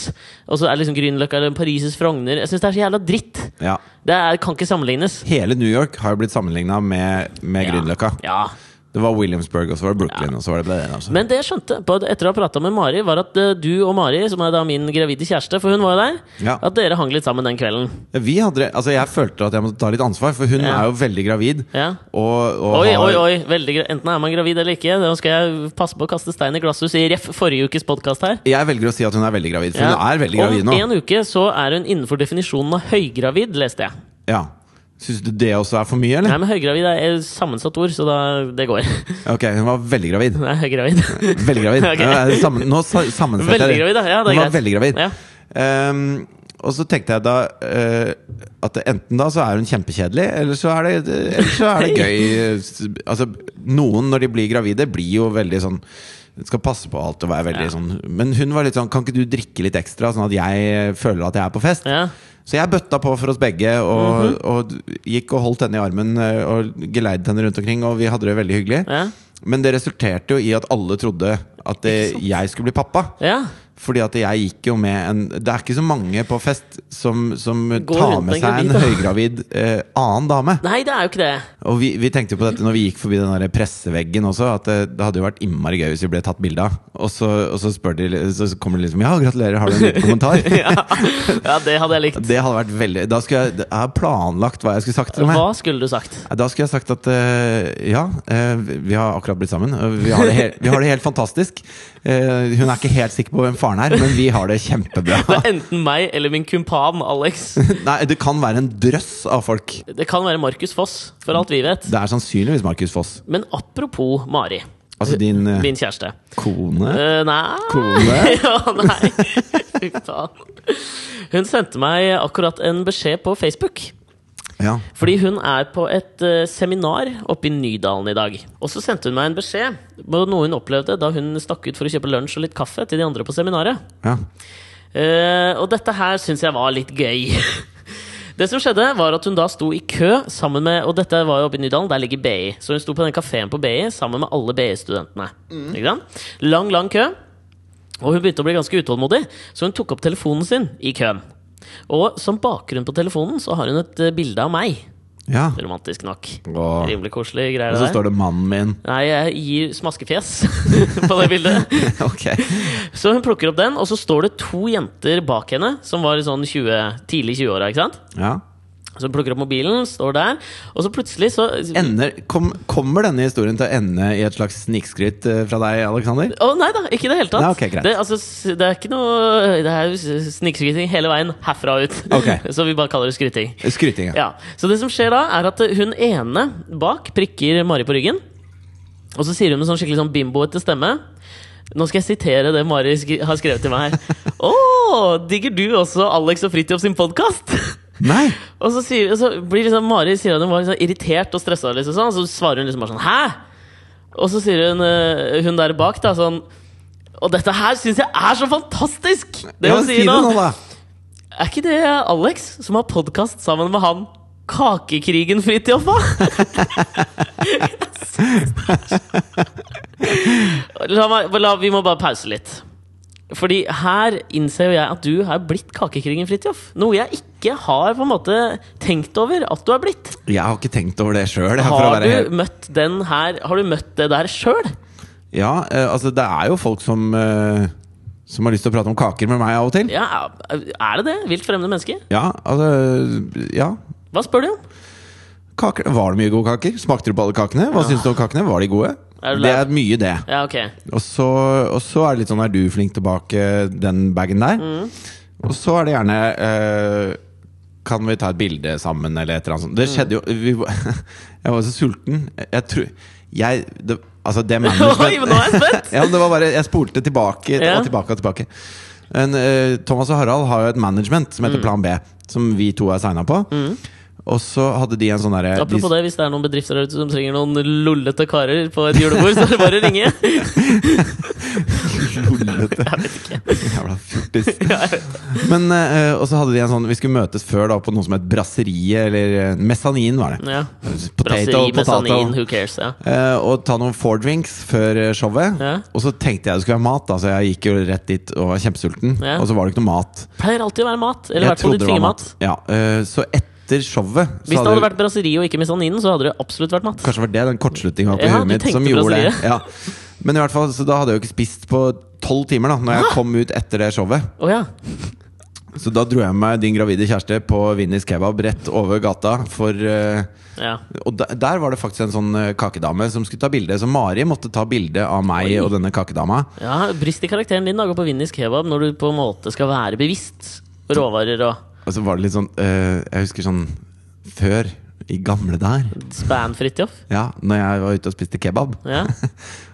og så er det liksom Grünerløkka eller Parises Frogner. Jeg syns det er så jævla dritt. ja. Det er, kan ikke sammenlignes. Hele New York har jo blitt sammenligna med, med Grünerløkka. Ja. Det var Williamsburg, og så var det Brooklyn, og så var det det. Altså. Men det jeg skjønte på, etter å ha prata med Mari, var at eh, du og Mari, som er da min gravide kjæreste, for hun var jo der, Ja. at dere hang litt sammen den kvelden. Vi hadde, altså jeg følte at jeg måtte ta litt ansvar, for hun Ja. er jo veldig gravid. Ja. Og, og Oi, har- oi, oi! Veldig, gra- enten er man gravid eller ikke. Da skal jeg passe på å kaste stein i glasshus i ref forrige ukes podkast her. Jeg velger å si at hun er veldig gravid, for hun Ja. er veldig gravid nå. Om en uke så er hun innenfor definisjonen av høygravid, leste jeg. Ja. Syns du det også er for mye, eller? Nei, men høygravid er et sammensatt ord, så da, det går. *laughs* Ok, hun var veldig gravid. Hun er høygravid. Veldig gravid. *laughs* Ok. Ja, det er sammen, nå sa- sammensetter Veldig jeg gravid, da. ja. Det Hun er var greit. veldig gravid. Ja. Ehm, og så tenkte jeg da eh, at enten da så er hun kjempekjedelig, eller så er det, eller så *laughs* er det gøy. Altså, noen når de blir gravide, blir jo veldig sånn skal passe på alt og være veldig Ja. sånn Men hun var litt sånn Kan ikke du drikke litt ekstra, sånn at jeg føler at jeg er på fest? Ja. Mhm. Så jeg bøtta på for oss begge, og, og gikk og holdt henne i armen eh, og geleidet henne rundt omkring, og vi hadde det veldig hyggelig. Ja. Men det resulterte jo i at alle trodde at eh, jeg skulle bli pappa. ja. Fordi at jeg gikk jo med en Det er ikke så mange på fest som, som tar rundt med med seg en gravid, *laughs* da. høygravid eh, annen dame. Nei, det er jo ikke det. *laughs* Og vi, vi tenkte jo på dette når vi gikk forbi den der presseveggen også, at det, det hadde jo vært innmari gøy hvis vi ble tatt bilde av. Og så, og så, spør de, så kommer de liksom Ja, gratulerer, har du en *laughs* liten kommentar? Ja. ja, det hadde jeg likt. Det hadde vært veldig Da skulle jeg, jeg har planlagt hva jeg skulle sagt til dem. her. Hva skulle du sagt? Da skulle jeg sagt at eh, ja, eh, vi har akkurat blitt sammen. og Vi har det helt, vi har det helt fantastisk. Eh, hun er ikke helt sikker på hvem faren er, men vi har det *laughs* Det kjempebra. er enten meg eller min kumpan Alex. *laughs* Nei, det kan være en drøss av folk. Det kan være Markus Foss, for alt vi vet. Det er sannsynligvis Markus Foss. Men apropos Mari, Altså din eh, min kjæreste. kone. Eh, nei Kone? *laughs* ja, nei. Fy faen. Hun sendte meg akkurat en beskjed på Facebook. Ja. Fordi hun er på et eh, seminar oppe i Nydalen i dag. Og så sendte hun meg en beskjed på noe hun opplevde da hun stakk ut for å kjøpe lunsj og litt kaffe til de andre på seminaret. ja. Eh, og dette her syns jeg var litt gøy. *laughs* Det som skjedde var at Hun da sto i kø sammen med Og dette var jo oppe i Nydalen, der ligger BI. Så hun sto på den kafeen på BI sammen med alle BI-studentene. Ikke sant? Lang, lang kø. Og hun begynte å bli ganske utålmodig, så hun tok opp telefonen sin i køen. Og som bakgrunn på telefonen så har hun et eh, bilde av meg. ja. Romantisk nok. Og, og Rimelig koselig greier. så det der. står det 'mannen min'. *laughs* Nei, jeg gir smaskefjes *laughs* på det bildet. Ok. Så hun plukker opp den, og så står det to jenter bak henne, som var i sånn 20, tidlig 20-åra. ikke sant? Ja. Så hun plukker opp mobilen, står der, og så plutselig så Å Ender, kom, kommer denne historien til å ende i et slags snikskryt eh, fra deg, Aleksander? nei da, ikke i det hele tatt. Nei, ok, greit. det, altså, s- det er ikke noe Det er jo s- snikskryting hele veien herfra og ut. Ok. *laughs* så vi bare kaller det skryting. Skryting, ja. Ja, Så det som skjer da, er at hun ene bak prikker Mari på ryggen. Og så sier hun med sånn skikkelig sånn bimboete stemme Nå skal jeg sitere det Mari skri har skrevet til *laughs* meg her. Å, digger du også Alex og Fridtjof sin podkast? Nei! Og så, sier, og så blir liksom Mari sier at hun var liksom irritert og stressa, liksom sånn, så svarer hun liksom bare sånn 'hæ?' Og så sier hun, eh, hun der bak da sånn Og dette her syns jeg er så fantastisk! Det Ja, hun si sier nå. da! Er ikke det Alex som har podkast sammen med han Kakekrigen Fridtjof, da? *laughs* la meg, la, vi må bare pause litt. Fordi her innser jo jeg at du har blitt Kakekrigen Fridtjof. Noe jeg ikke har på en måte tenkt over at du har blitt. Jeg har ikke tenkt over det sjøl. Har du møtt den her Har du møtt det der sjøl? Ja, eh, altså det er jo folk som eh, Som har lyst til å prate om kaker med meg av og til. Ja, er det det? Vilt fremmede mennesker? Ja, altså Ja. Hva spør de om? Kaker, var det mye gode kaker? Smakte du på alle kakene? Hva syns du om kakene? Var de gode? Er du det lei- er mye det. Ja, ok. Og så, og så er det litt sånn Er du flink tilbake den bagen der? Mm. Og så er det gjerne eh, Kan vi ta et bilde sammen, eller et eller annet sånt. Det skjedde jo Mm. vi, *laughs* Jeg var så sulten. Jeg tror Jeg det, Altså, *laughs* det Oi, men nå management er jeg spent! ja, men det var bare, Jeg spolte tilbake Ja. og tilbake og tilbake. Mm. Men, eh, Thomas og Harald har jo et management som heter Plan B, som vi to er signa på. Og så hadde de en sånn derre Apropos det, hvis det er noen bedrifter der ute som trenger noen lollete karer på et julebord, så er det bare å *laughs* ringe! Lollete. Jeg vet ikke. Jævla fjortis. Ja, jeg vet. Men, eh, og så hadde de en sånn Vi skulle møtes før da på noe som het Brasseriet, eller eh, Messanin, var det. Ja. Potato, Brasseri, mesanin, potato. sånn who cares? Ja. Eh, og ta noen four drinks før eh, showet. Ja. Og så tenkte jeg det skulle være mat, da, så jeg gikk jo rett dit og var kjempesulten. Ja. Og så var det ikke noe mat. Pleier alltid å være mat. Eller i Jeg hvert fall trodde litt det var fingermat. Ja, eh, så etter showet så Hvis det hadde jo- vært brasseri og ikke mesaninen, så hadde det absolutt vært mat. Kanskje det var det den kortslutninga på Ja, huet du mitt som tenkte gjorde det. brasseriet. Ja. Men i hvert fall, så da hadde jeg jo ikke spist på tolv timer, da Når jeg kom ut etter det showet. Å ja. Så da dro jeg med din gravide kjæreste på Vinnies kebab rett over gata. For, eh, ja. og der, der var det faktisk en sånn eh, kakedame som skulle ta bilde. Så Mari måtte ta bilde av meg og denne kakedama. Ja, Brist i karakteren din da, gå på Vinnies kebab når du på en måte skal være bevisst råvarer og Og så var det litt sånn eh, Jeg husker sånn før, i gamle der, span Fridtjof. ja, når jeg var ute og spiste kebab, Ja.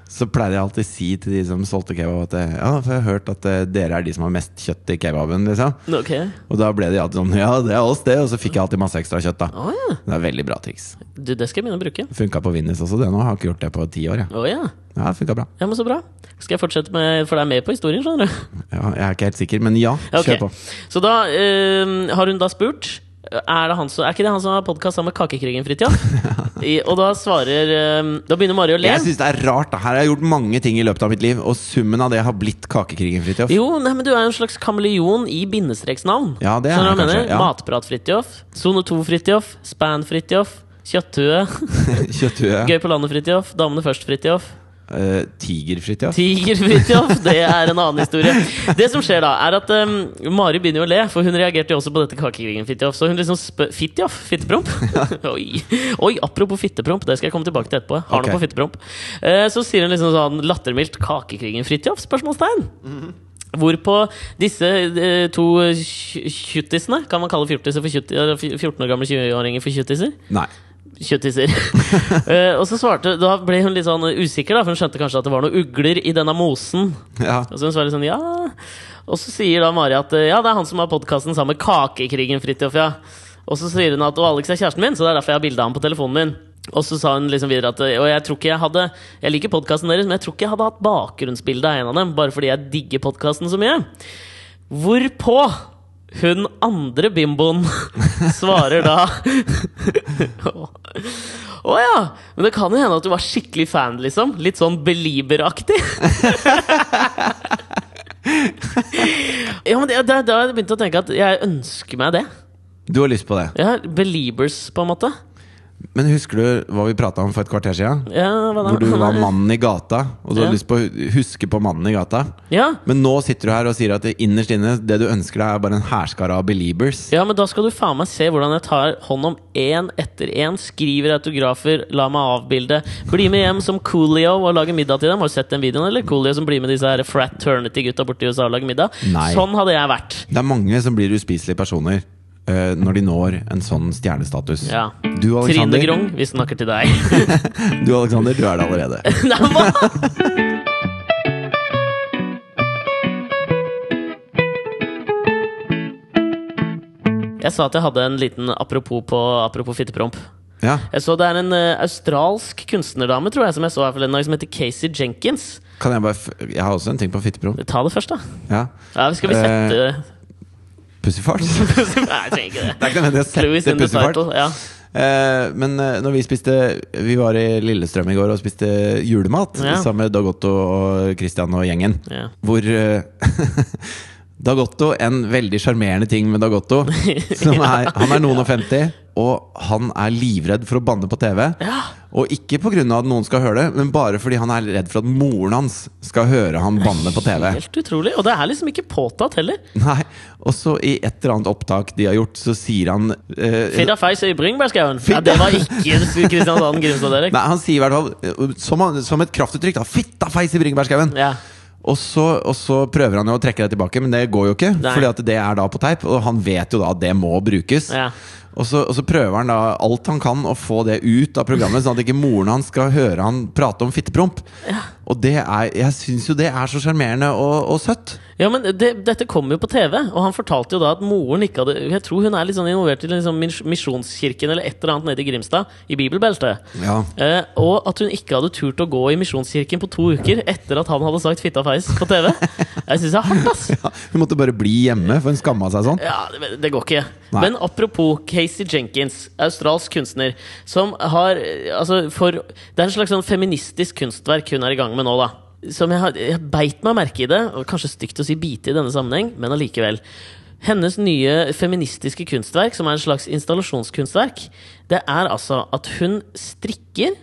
så pleide jeg alltid å si til de som solgte kebab, at eh, ja, for jeg har hørt at eh, dere er de som har mest kjøtt i kebaben. liksom Ok. Og da ble de alltid sånn Ja, det er oss, det. Og så fikk jeg alltid masse ekstra kjøtt, da. Å ja. Det er veldig bra triks. Du, det skal jeg begynne å bruke. Funka på Vinnis også, det nå. Har ikke gjort det på ti år, jeg. Å ja. Ja, det funka bra. ja, men så bra. Skal jeg fortsette med For det er med på historien, skjønner du. Ja, jeg er ikke helt sikker, men ja. Ok. Kjør på. Så da eh, har hun da spurt er, det han som, er ikke det han som har podkast sammen med Kakekrigen, *laughs* Fridtjof? I- Og da svarer eh, Da begynner Mari å le. Jeg syns det er rart. da Her har jeg gjort mange ting i løpet av mitt liv, og summen av det har blitt Kakekrigen, Fridtjof. Jo, nei, men du er jo en slags kameleon i bindestreksnavn. Ja, det er Skjønner jeg du hva jeg mener? kanskje, ja. *laughs* Matprat-Fridtjof, Sone 2-Fridtjof, Span-Fridtjof, Kjøtthue, Kjøtthue. Gøy på landet-Fridtjof, Damene først-Fridtjof, Uh, Tiger-Fridtjof. Tiger-Fridtjof. Det er en annen historie. Det som skjer da, er at eh, Mari begynner jo å le, for hun reagerte jo også på dette kakekrigen-Fridtjof. Så hun liksom spør Fridtjof? Fittepromp? *laughs* Oi. Oi, apropos fittepromp, det skal jeg komme tilbake til etterpå. Har Ok. noe på fittepromp. Eh, så sier hun liksom sånn lattermildt 'Kakekrigen-Fridtjof?' spørsmålstegn. Hvorpå disse eh, to tj- tjuttisene Kan man kalle fjortiser for tjutti- eller fj- 14 år gamle 20-åringer for tjuttiser? Nei. Kjøttiser. Eh, og så svarte Da ble hun litt sånn usikker, da, for hun skjønte kanskje at det var noen ugler i denne mosen. Ja. Og så hun svarer sånn ja Og så sier da Mari at eh, ja, det er han som har podkasten sammen med Kakekrigen, Fridtjof, ja. Og så sier hun at og Alex er kjæresten min, så det er derfor jeg har bilde av ham på telefonen min. Og så sa hun liksom videre at eh, Og jeg tror ikke jeg hadde Jeg liker podkasten deres, men jeg tror ikke jeg hadde hatt bakgrunnsbilde av en av dem, bare fordi jeg digger podkasten så mye. Hvorpå hun andre bimboen *laughs* svarer da Å ja! Men det kan jo hende at du var skikkelig fan, liksom. Litt sånn belieberaktig. Ja, men det, det, Da har jeg begynt å tenke at jeg ønsker meg det. Du har lyst på det. Jeg er beliebers, på en måte. Men husker du hva vi prata om for et kvarter sia? Ja, hva da? Hvor du *laughs* var mannen i gata, og du Ja. hadde lyst på å huske på mannen i gata. Ja. Men nå sitter du her og sier at det innerst inne Det du ønsker deg, er bare en hærskare av beliebers. ja, men da skal du faen meg se hvordan jeg tar hånd om én etter én. Skriver autografer, la meg avbilde. Bli med hjem som Coolio og lage middag til dem. Har du sett den videoen, eller? Coolio som blir med disse her fraternity-gutta borti USA og lager middag. Nei. Sånn hadde jeg vært. Det er mange som blir uspiselige personer eh, når de når en sånn stjernestatus. Ja. Du, Trine Alexander, Grong, vi snakker til deg. du, Alexander, du er det allerede. Nei, hva? Jeg sa at jeg hadde en liten apropos på apropos fittepromp. Ja. Jeg så Det er en eh, australsk kunstnerdame tror jeg som jeg så her for en dag, som heter Casey Jenkins. Kan jeg bare f Jeg har også en ting på fitteprom. Ta det først, da. Ja. Ja, Skal vi sette *laughs* Pussyfart. *laughs* Det Nei, jeg trenger ikke det. er ikke nødvendig å Louis sette in the pussyfart. title. Ja. Eh, men eh, når vi spiste Vi var i Lillestrøm i går og spiste julemat Ja. sammen med Dag Otto og Christian og gjengen. Ja. Hvor eh, *laughs* Dag Otto, en veldig sjarmerende ting med Dag Otto som er, Han er noen og 50, og han er livredd for å banne på TV. Ja. Og ikke pga. at noen skal høre det, men bare fordi han er redd for at moren hans skal høre han banne på TV. Helt utrolig. Og det er liksom ikke påtatt heller. Nei, Og så i et eller annet opptak de har gjort, så sier han eh, Firda Feis i Bryngbergskauen. Ja, det var ikke Kristiansand Grimstad-Derek. Nei, han sier i hvert fall eh, som, han- som et kraftuttrykk da 'fitta feis i bringebærskauen'. Ja. Og så, og så prøver han jo å trekke det tilbake, men det går jo ikke. Nei. Fordi at det er da på teip, og han vet jo da at det må brukes. Ja. Og så, og så prøver han da alt han kan å få det ut av programmet, sånn at ikke moren hans skal høre han prate om fittepromp. Og det er, jeg syns jo det er så sjarmerende og, og søtt. Ja, men det, dette kom jo på TV, og han fortalte jo da at moren ikke hadde Jeg tror hun er litt sånn involvert i liksom mis- misjonskirken eller et eller annet nede i Grimstad, i bibelbeltet. Ja. Eh, og at hun ikke hadde turt å gå i misjonskirken på to uker etter at han hadde sagt 'fitta feis' på TV. Jeg syns det er hardt, ass! Hun måtte bare bli hjemme, for hun skamma seg sånn. Ja, det, det går ikke. Nei. Men apropos Casey Jenkins, australsk kunstner, som har eh, Altså, for Det er en slags sånn feministisk kunstverk hun er i gang med nå, da. Som jeg, har- jeg beit meg merke i det, og kanskje stygt å si bite i denne sammenheng, men allikevel. Hennes nye feministiske kunstverk, som er en slags installasjonskunstverk, det er altså at hun strikker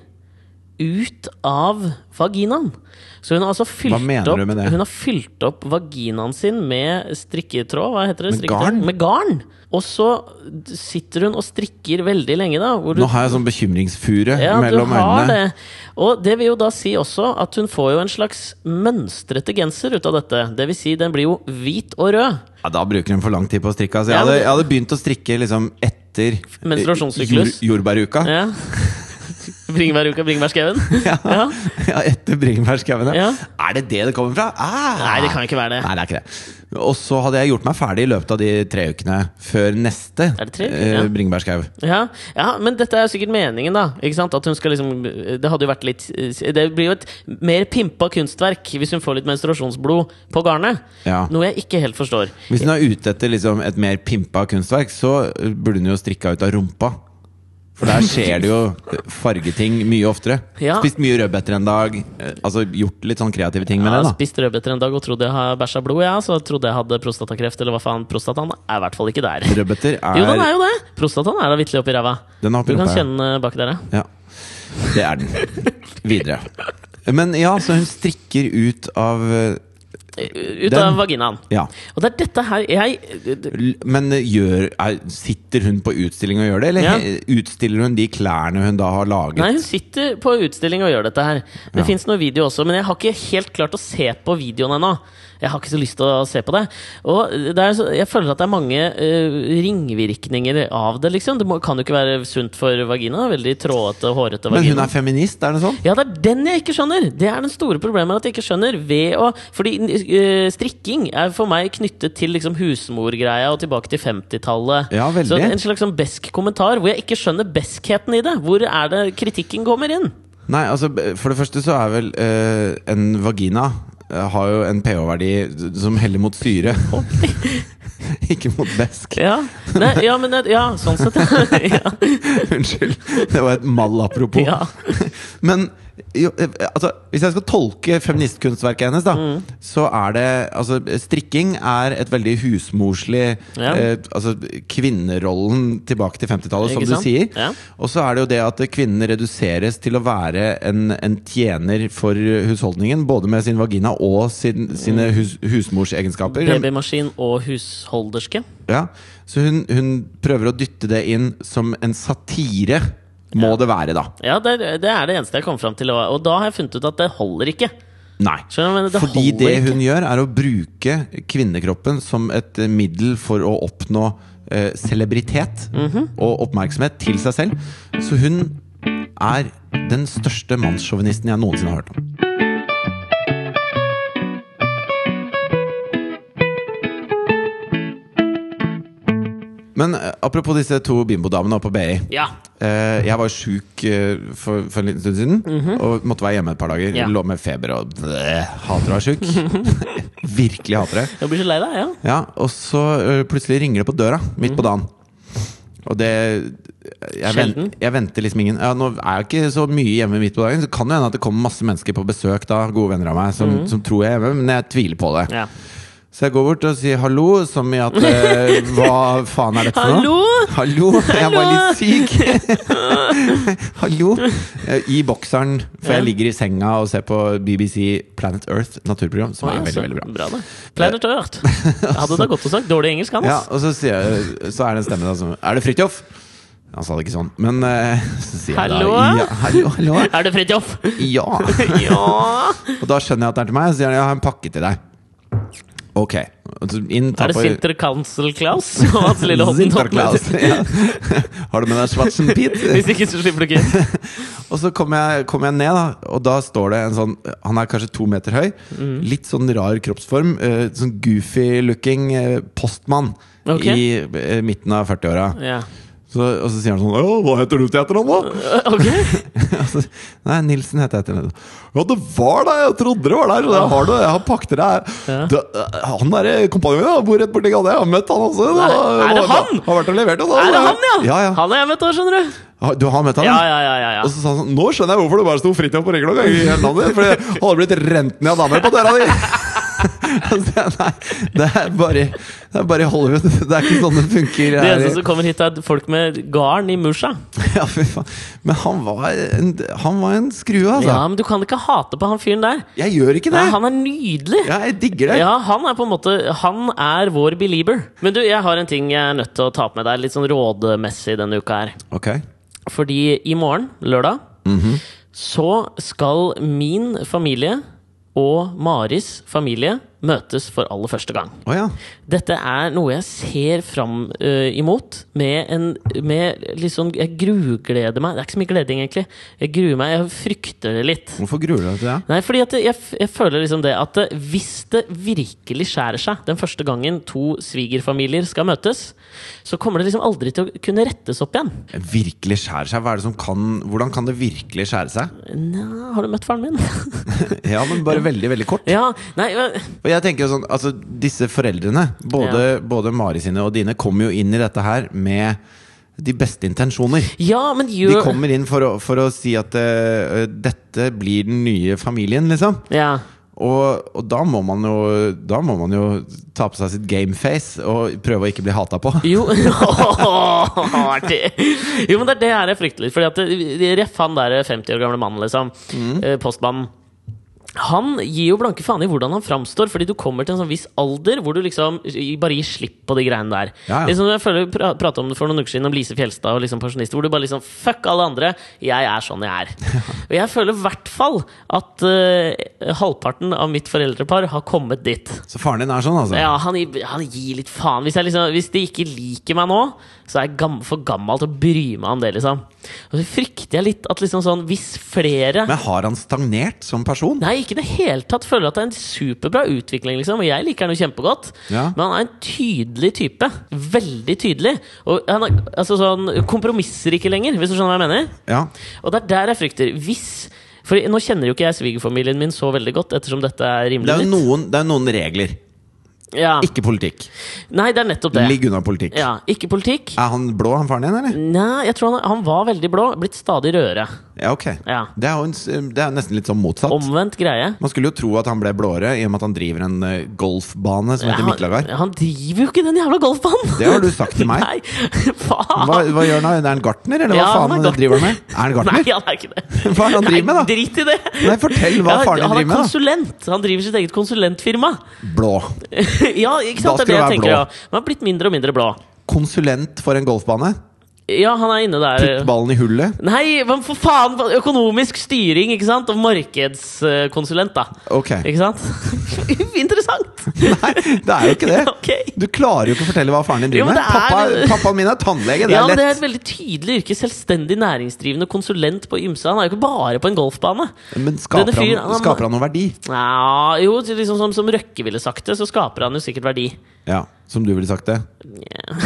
ut av vaginaen. Så hun har altså fylt Hva mener opp, du med det? Hun har fylt opp vaginaen sin med strikketråd. Hva heter det? Med Strikketråd? garn? Med garn! Og så d- sitter hun og strikker veldig lenge, da. Hvor Nå har jeg sånn bekymringsfure ja, du mellom har øynene. det. Og det vil jo da si også at hun får jo en slags mønstrete genser ut av dette. Det vil si, den blir jo hvit og rød. Ja, da bruker hun for lang tid på å strikke. Altså, jeg, Ja, men hadde, det- jeg hadde begynt å strikke liksom etter Menstruasjonssyklus. eh, jord- Jordbæruka. *laughs* Ja. Bringebæruka, bringebærskauen. Ja. Ja, etter bringebærskauen. Ja. Ja. Er det det det kommer fra? Ah! Nei, det kan ikke være det. Nei, det er ikke det. Og så hadde jeg gjort meg ferdig i løpet av de tre ukene før neste Er det tre uker, ja? eh, bringebærskau. Ja, ja, men dette er jo sikkert meningen, da. Ikke sant? At hun skal liksom Det hadde jo vært litt Det blir jo et mer pimpa kunstverk hvis hun får litt menstruasjonsblod på garnet. Ja. Noe jeg ikke helt forstår. Hvis hun er ute etter liksom, et mer pimpa kunstverk, så burde hun jo strikka ut av rumpa. For der skjer det jo fargeting mye oftere. Ja. Spist mye rødbeter en dag. eh, Altså gjort litt sånn kreative ting Jeg med har det. da spist rødbeter en dag og trodde jeg har bæsja blod, ja, så trodde jeg hadde prostatakreft, eller hva faen. Prostataen er i hvert fall ikke der. Rødbeter er, Jo, den er jo det! Prostataen er da vitterlig oppi ræva. Den er oppi Du kan rumpa, ja. kjenne baki der, ja. Ja, det er den. Videre. Men ja, så hun strikker ut av eh, Ut Den- av vaginaen. Ja. Og det er dette her jeg L- Men gjør, er, sitter hun på utstilling og gjør det, eller Ja. he- utstiller hun de klærne hun da har laget? Nei, hun sitter på utstilling og gjør dette her. Ja. Det finnes noe video også, men jeg har ikke helt klart å se på videoen ennå. Jeg har ikke så lyst til å se på det. Og det er, så- jeg føler at det er mange eh, ringvirkninger av det, liksom. Det må, kan jo ikke være sunt for vagina. Veldig trådete, hårete Men hun vagina. er feminist, er det sånn? Ja, det er den jeg ikke skjønner! Det er den store problemet at jeg ikke skjønner. Ved å, fordi eh, strikking er for meg knyttet til liksom, husmorgreia og tilbake til 50-tallet. Ja, veldig. så en slags sånn besk kommentar hvor jeg ikke skjønner beskheten i det. Hvor er det kritikken kommer inn? Nei, altså b- for det første så er vel eh, en vagina eh, har jo en pH-verdi som heller mot syre. *laughs* Ikke mot besk. Ja, Nei, ja, men, det- ja sånn sett. *laughs* ja. Unnskyld. Det var et mal apropos. ja. Men jo, eh, altså, hvis jeg skal tolke feministkunstverket hennes, da, Mm. så er det altså, Strikking er et veldig husmorslig Ja. eh, Altså kvinnerollen tilbake til 50-tallet, som Ikke du sant? sier. Ja. Og så er det jo det at kvinnen reduseres til å være en, en tjener for husholdningen. Både med sin vagina og sin, Mm. sine hus, husmorsegenskaper. Babymaskin og husholderske. Ja, så hun, hun prøver å dytte det inn som en satire, må det være, da. Ja, det er, det er det eneste jeg kom fram til. Og og da har jeg funnet ut at det holder ikke. Nei. Skjønner du? Men det Fordi det holder hun gjør, er å bruke kvinnekroppen som et eh, middel for å oppnå eh, celebritet Mhm. og oppmerksomhet til seg selv. Så hun er den største mannssjåvinisten jeg noensinne har hørt om. Men eh, apropos disse to bimbodamene oppe på BI. Ja. Eh, jeg var sjuk eh, for, for en liten stund siden og måtte være hjemme et par dager. Mhm. Ja. Lå med feber og bleh, hater å være sjuk. *laughs* Virkelig hater det. Jeg blir så lei deg, ja. Ja, og så ø, plutselig ringer det på døra Mhm. midt på dagen. Og det jeg, ven- Sjelden. jeg venter liksom ingen ja, Nå er jeg ikke så mye hjemme midt på dagen, så kan det hende at det kommer masse mennesker på besøk da, gode venner av meg, som, som tror jeg er hjemme, men jeg tviler på det. Mhm. ja. Så jeg går bort og sier hallo, som i *laughs* at eh, Hva faen er dette for noe? Hallo? Hallo! Jeg var litt syk. *laughs* hallo. Eh, I bokseren, for Ja. jeg ligger i senga og ser på BBC Planet Earth naturprogram, som Oi, er altså. veldig, veldig bra. Eh, det. Planet Earth. Jeg hadde da godt å sagt dårlig engelsk, Ja, Hans. og så, sier jeg, så er det en stemme da som Er det Fridtjof? Han sa det ikke sånn, men eh, så sier Hallo? jeg da ja, Hallo? Hallo? Er det Fridtjof? *laughs* Ja. Ja! Og da skjønner jeg at det er til meg, og så sier han jeg har en pakke til deg. Ok. Inn, Er det Sinter Council Klaus og Hans Lille Hodden? Sinterklaas. *laughs* Ja. Har du med deg Schwarzenpit? *laughs* Hvis ikke, så slipper du ikke inn. Og så kom jeg, kom jeg ned, da, og da står det en sånn Han er kanskje to meter høy. Mm. Litt sånn rar kroppsform. eh, sånn goofy-looking eh, postmann Ok. i eh, midten av 40-åra. Ja. *laughs* Så- Og så sier han sånn «Å, Hva heter du til etternavn, da? *laughs* Eh, Ok. Og så- Nei, Nilsen heter jeg etternavn. Ja, det var deg! Jeg trodde det var der! Jeg har, det, jeg har pakket det her. Ja. Det, eh, han derre kompanjen min han bor rett borti gata. Jeg har møtt han også. Nei, er det han? Har vært og levert hos Er det han, ja? Ja, ja. Han har jeg møtt òg, skjønner du. Har- Du har møtt han? Ja, ja, ja. ja, ja. Og så sa han sånn Nå skjønner jeg hvorfor det bare sto Fridtjof på ringklokka i hele navnet ditt! For jeg hadde blitt rent ned av damer på døra di! *laughs* Og så sa jeg, Nei, det er bare Det er bare i Hollywood. Det er ikke sånn det funker. Det her i- eneste som kommer hit, er folk med garn i musja. Ja, fy faen. Men han var en, han var en skrue, altså. Ja, men du kan ikke hate på han fyren der. Jeg gjør ikke det! Nei, han er nydelig. Ja, jeg digger det. Ja, han er på en måte Han er vår belieber. Men du, jeg har en ting jeg er nødt til å ta opp med deg, litt sånn rådemessig denne uka her. Ok. Fordi i morgen, lørdag, Mhm. så skal min familie og Maris familie møtes for aller første gang. Å ja. Dette er noe jeg ser fram eh, imot. Med en med litt sånn- Jeg grugleder meg. Det er ikke så mye gleding, egentlig. Jeg gruer meg. Jeg frykter det litt. Hvorfor gruer du deg til det? Nei, fordi at jeg, f- jeg føler liksom det at eh, hvis det virkelig skjærer seg den første gangen to svigerfamilier skal møtes, så kommer det liksom aldri til å kunne rettes opp igjen. Virkelig skjærer seg? Hva er det som kan Hvordan kan det virkelig skjære seg? *laughs* Nja, har du møtt faren min? *laughs* Ja, men bare veldig, veldig kort. Ja, nei men- Og jeg tenker jo sånn, altså Disse foreldrene, både, både Mari sine og dine, kommer jo inn i dette her med de beste intensjoner. Ja, men De gjør kommer inn for å, for å si at eh, dette blir den nye familien, liksom. Ja. Og, og da, må man jo, da må man jo ta på seg sitt gameface og prøve å ikke bli hata på. Jo *laughs* Artig! Jo, men det er det her jeg frykter litt. Fordi at det- Ref han der 50 år gamle mannen, liksom. Mm. eh, Postmannen. Han gir jo blanke faen i hvordan han framstår, fordi du kommer til en sånn viss alder hvor du liksom i- bare gir slipp på de greiene der. Ja, ja. Liksom, jeg føler Vi pra prata om det for noen uker siden, om Lise Fjelstad og liksom pensjonister, hvor du bare liksom Fuck alle andre, jeg er *laughs* sånn jeg er. Og jeg føler i hvert fall at eh, halvparten av mitt foreldrepar har kommet dit. Så faren din er sånn, altså? Ja, han, gir- han gir litt faen. Hvis, jeg liksom, hvis de ikke liker meg nå, så er jeg gam, for gammel til å bry meg om det, liksom. Og så frykter jeg litt at liksom sånn, hvis flere Men har han stagnert som person? Nei, ikke i det hele tatt. Føler at det er en superbra utvikling, liksom. Og jeg liker han jo kjempegodt. Ja. Men han er en tydelig type. Veldig tydelig. Og han er, altså sånn, kompromisser ikke lenger, hvis du skjønner hva jeg mener? Ja. Og det er der jeg frykter. Hvis For nå kjenner jo ikke jeg svigerfamilien min så veldig godt, ettersom dette er Det rimelig er jo nytt. noen, det er noen regler. Ja. Ikke politikk. Nei, det er nettopp det. Ligg unna politikk. Ja, Mm. ikke politikk. Er han blå, han faren din, eller? Nei, jeg tror han, han var veldig blå. Blitt stadig rødere. Ja, ok. Ja. Det er jo en, s- det er nesten litt sånn motsatt. Omvendt greie. Man skulle jo tro at han ble blåere i og med at han driver en eh, golfbane som heter han, Miklagard. han driver jo ikke den jævla golfbanen! Det har du sagt til meg. *laughs* Nei, faen! Hva, hva gjør han da? Er han gartner, eller hva Ja, han er faen gartner. driver han med? Er han Nei, gartner? han er ikke det. Hva er det han driver med, da? Nei, drit i det! Nei, fortell hva Ja, faren din han er driver med, da. konsulent. Han driver sitt eget konsulentfirma. *laughs* Blå. ja, ikke Da sant? skal Det er det du jeg være tenker, blå. ja. Han har blitt mindre og mindre blå. Konsulent for en golfbane. Ja, han er inne der. Putt ballen i hullet. Nei, men for faen! Økonomisk styring, ikke sant? Og markedskonsulent, da. *laughs* Ok. Ikke sant? Interessant! Nei, det er jo ikke det. *laughs* Ok. Du klarer jo ikke å fortelle hva faren din Jo, driver men med. Pappa, det er- pappaen min er tannlege, det Ja, er men det lett. er et veldig tydelig yrke. Selvstendig næringsdrivende konsulent på ymse. Han er jo ikke bare på en golfbane. Men Denne skaper fyren, han, han- skaper han noe verdi? Ja, jo, så liksom som, som Røkke ville sagt det, så skaper han jo sikkert verdi. Ja, som du ville sagt det. Nja.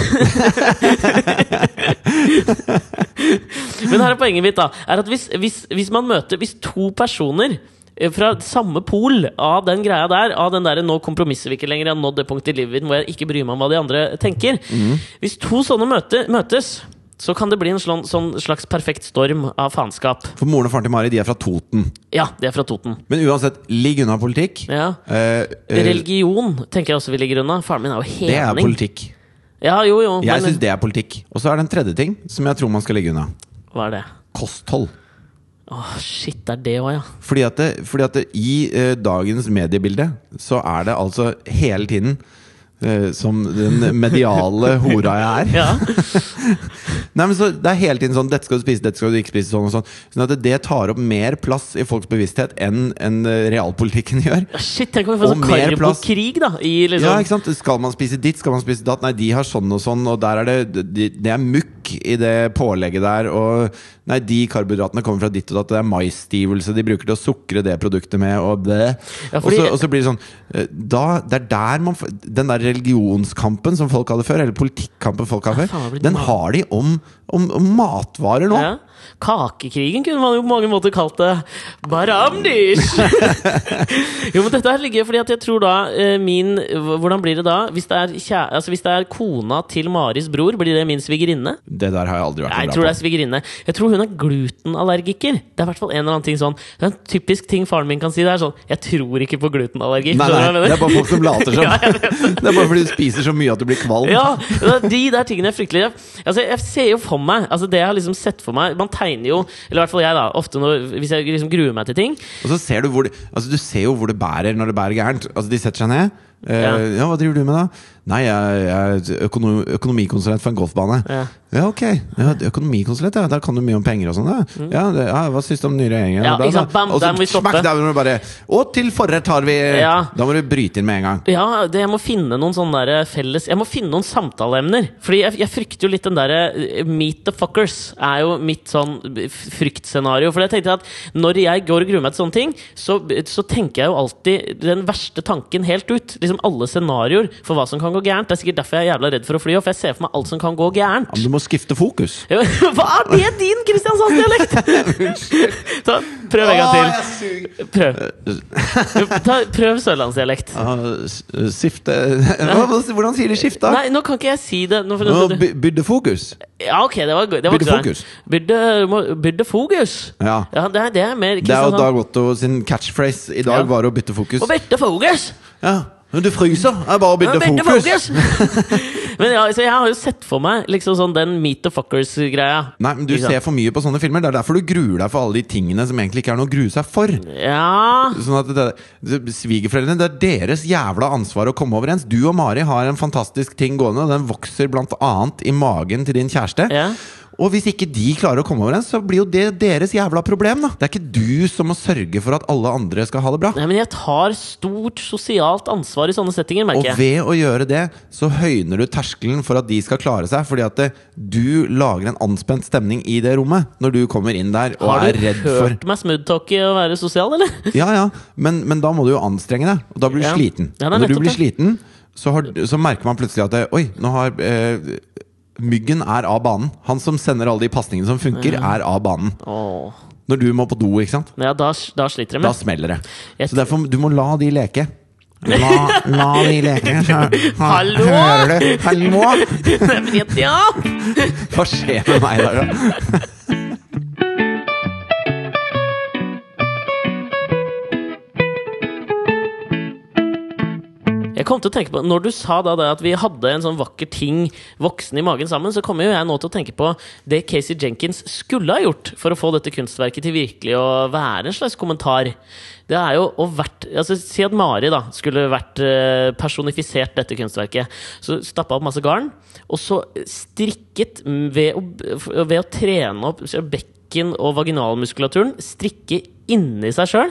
Men her er poenget mitt, da. Er at hvis, hvis, hvis man møter Hvis to personer eh, fra samme pol av den greia der, av den derre 'nå kompromisser vi ikke lenger', jeg har nådd det punktet i livet mitt hvor jeg ikke bryr meg om hva de andre tenker Mhm. Hvis to sånne møte, møtes, så kan det bli en slån, sånn slags perfekt storm av faenskap. For moren og faren til Mari de er fra Toten. Ja, de er fra Toten. Men uansett, ligg unna politikk. Ja. Eh, eh, Religion tenker jeg også vi ligger unna. Faren min er jo det er hedning. politikk. Ja, jo, jo. Jeg Men, syns det er politikk. Og så er det en tredje ting som jeg tror man skal ligge unna. hva er det? Kosthold. Åh, shit, det er det *laughs* òg, ja. Fordi at, det, fordi at det, i eh, dagens mediebilde så er det altså hele tiden eh, som den mediale hora jeg er. Ja. Nei, men så Det er hele tiden sånn 'dette skal du spise, dette skal du ikke spise', sånn og sånn. Sånn at det tar opp mer plass i folks bevissthet enn enn, eh, realpolitikken *laughs* gjør. Shit, tenk om vi får Og sånn mer plass. karbokrig, da! I liksom Ja, ikke sant? Skal man spise ditt, skal man spise datt? Nei, de har sånn og sånn, og der er det de, Det er mukk i det pålegget der, og Nei, de karbohydratene kommer fra ditt og datt, og det er maisstivelse de bruker til å sukre det produktet med, og det Ja, og, fordi- så, og så blir det sånn eh, da, Det er der man får- Den der religionskampen som folk hadde før, eller politikkampen folk har Ja, før, faen, det har blitt den mat. har de om, om, om matvarer nå. Ja. Kakekrigen kunne man jo på mange måter kalt det. *laughs* Baramdish! jo, men dette her ligger fordi at jeg tror da eh, min Hvordan blir det da? Hvis det er, kjæ, altså hvis det er kona til Maris bror, blir det min svigerinne? Det der har jeg aldri vært Nei, noe jeg bra tror det på. er svigerinne. Jeg tror hun er glutenallergiker. Det er i hvert fall en eller annen ting sånn Det er en typisk ting faren min kan si. Det er sånn Jeg tror ikke på glutenallergi. Nei, Skjønner du nei, hva jeg det er mener? bare folk som *laughs* later som. det er bare fordi du spiser så mye at du blir kvalm. Ja, det er de der tingene er fryktelige. Altså, jeg ser jo for meg altså Det jeg har liksom sett for meg Man tegner jo, eller i hvert fall jeg, da ofte når, hvis jeg liksom gruer meg til ting. Og så ser du hvor det, altså du ser jo hvor det bærer når det bærer gærent. Altså De setter seg ned. Eh, ja. Ja. hva driver du med, da? Nei, jeg, jeg er økono, økonomikonsulent for en golfbane. Ja, Ja. ok. Ja, økonomikonsulent, ja. Da kan du mye om penger og sånn, da. Ja, det, ja, hva syns du om den nye regjeringen? Mm. Ja, Da, da. ikke sant? Bam, og så der må vi stoppe. smakk, der må du bare Og til forrett har vi Ja. Da må du bryte inn med en gang. Ja, det, jeg må finne noen sånne der felles Jeg må finne noen samtaleemner. Fordi jeg, jeg frykter jo litt den derre eh, Meet the fuckers er jo mitt sånn f- fryktscenario. For jeg tenkte at når jeg går og gruer meg til sånne ting, så, så tenker jeg jo alltid den verste tanken helt ut. Liksom alle scenarioer for hva som kan gå gærent. Det er sikkert derfor jeg er jævla redd for å fly òg, for jeg ser for meg alt som kan gå gærent. Ja, men Du må skifte fokus. Ja, men *laughs* Hva er det din Kristiansandsdialekt?! *laughs* Ta- Prøv en gang til. Prøv, Ta, prøv sørlandsdialekt. Ah, s- Skifte *laughs* Hva- hva- Hvordan sier de skifte? da? Nei, nå kan ikke jeg si det. Nå, Nå nå, by- Bytte fokus. ja, ok, det var, go- det var Byrde ikke så- fokus. Byrde, må- byrde fokus. Ja. Ja, det er, det er mer Det er jo Kristiansand. Dag Otto sin catchphrase i dag Ja. var å bytte fokus. Og byrde fokus! Ja, men du fryser. Jeg bare Ja, bytter Byrde fokus. fokus! *laughs* Men ja, så jeg har jo sett for meg liksom sånn den meet the fuckers-greia. Nei, men Du Ikke sant? ser for mye på sånne filmer. Det er derfor du gruer deg for alle de tingene som egentlig ikke er noe å grue seg for. Ja Sånn at det, det- Svigerforeldrene, det er deres jævla ansvar å komme overens. Du og Mari har en fantastisk ting gående, og den vokser blant annet i magen til din kjæreste. Ja. Og hvis ikke de klarer å komme overens, så blir jo det deres jævla problem. da Det er ikke du som må sørge for at alle andre skal ha det bra. Nei, men jeg tar stort sosialt ansvar i sånne settinger, Og merker jeg. ved å gjøre det, så høyner du terskelen for at de skal klare seg. Fordi at det, du lager en anspent stemning i det rommet når du kommer inn der og Har er du redd hørt for meg smoothtalkie og være sosial, eller? Ja, ja, men, men da må du jo anstrenge deg, og da blir du Ja. sliten. Ja, det og er når du nettopp blir det. sliten, så, har, så merker man plutselig at det, Oi, nå har eh, Myggen er av banen. Han som sender alle de pasningene som funker, er av banen. Åh. Når du må på do, ikke sant? Ja, da, da sliter jeg Da med. smeller det. Jeg Så derfor, du må la de *laughs* leke. La, la de leke. Hø- Hallo? Hører du? Hallo? *laughs* Nei, men jeg- ja! Hva skjer med meg der, da? Jeg kom til å tenke på, Når du sa da det at vi hadde en sånn vakker ting voksne i magen sammen, så kommer jo jeg nå til å tenke på det Casey Jenkins skulle ha gjort for å få dette kunstverket til virkelig å være en slags kommentar. Det er jo å vært, altså Si at Mari da skulle vært eh, personifisert dette kunstverket. Så stappa opp masse garn, og så strikket ved å, ved å trene opp bekken og vaginalmuskulaturen. Strikke inni seg sjøl.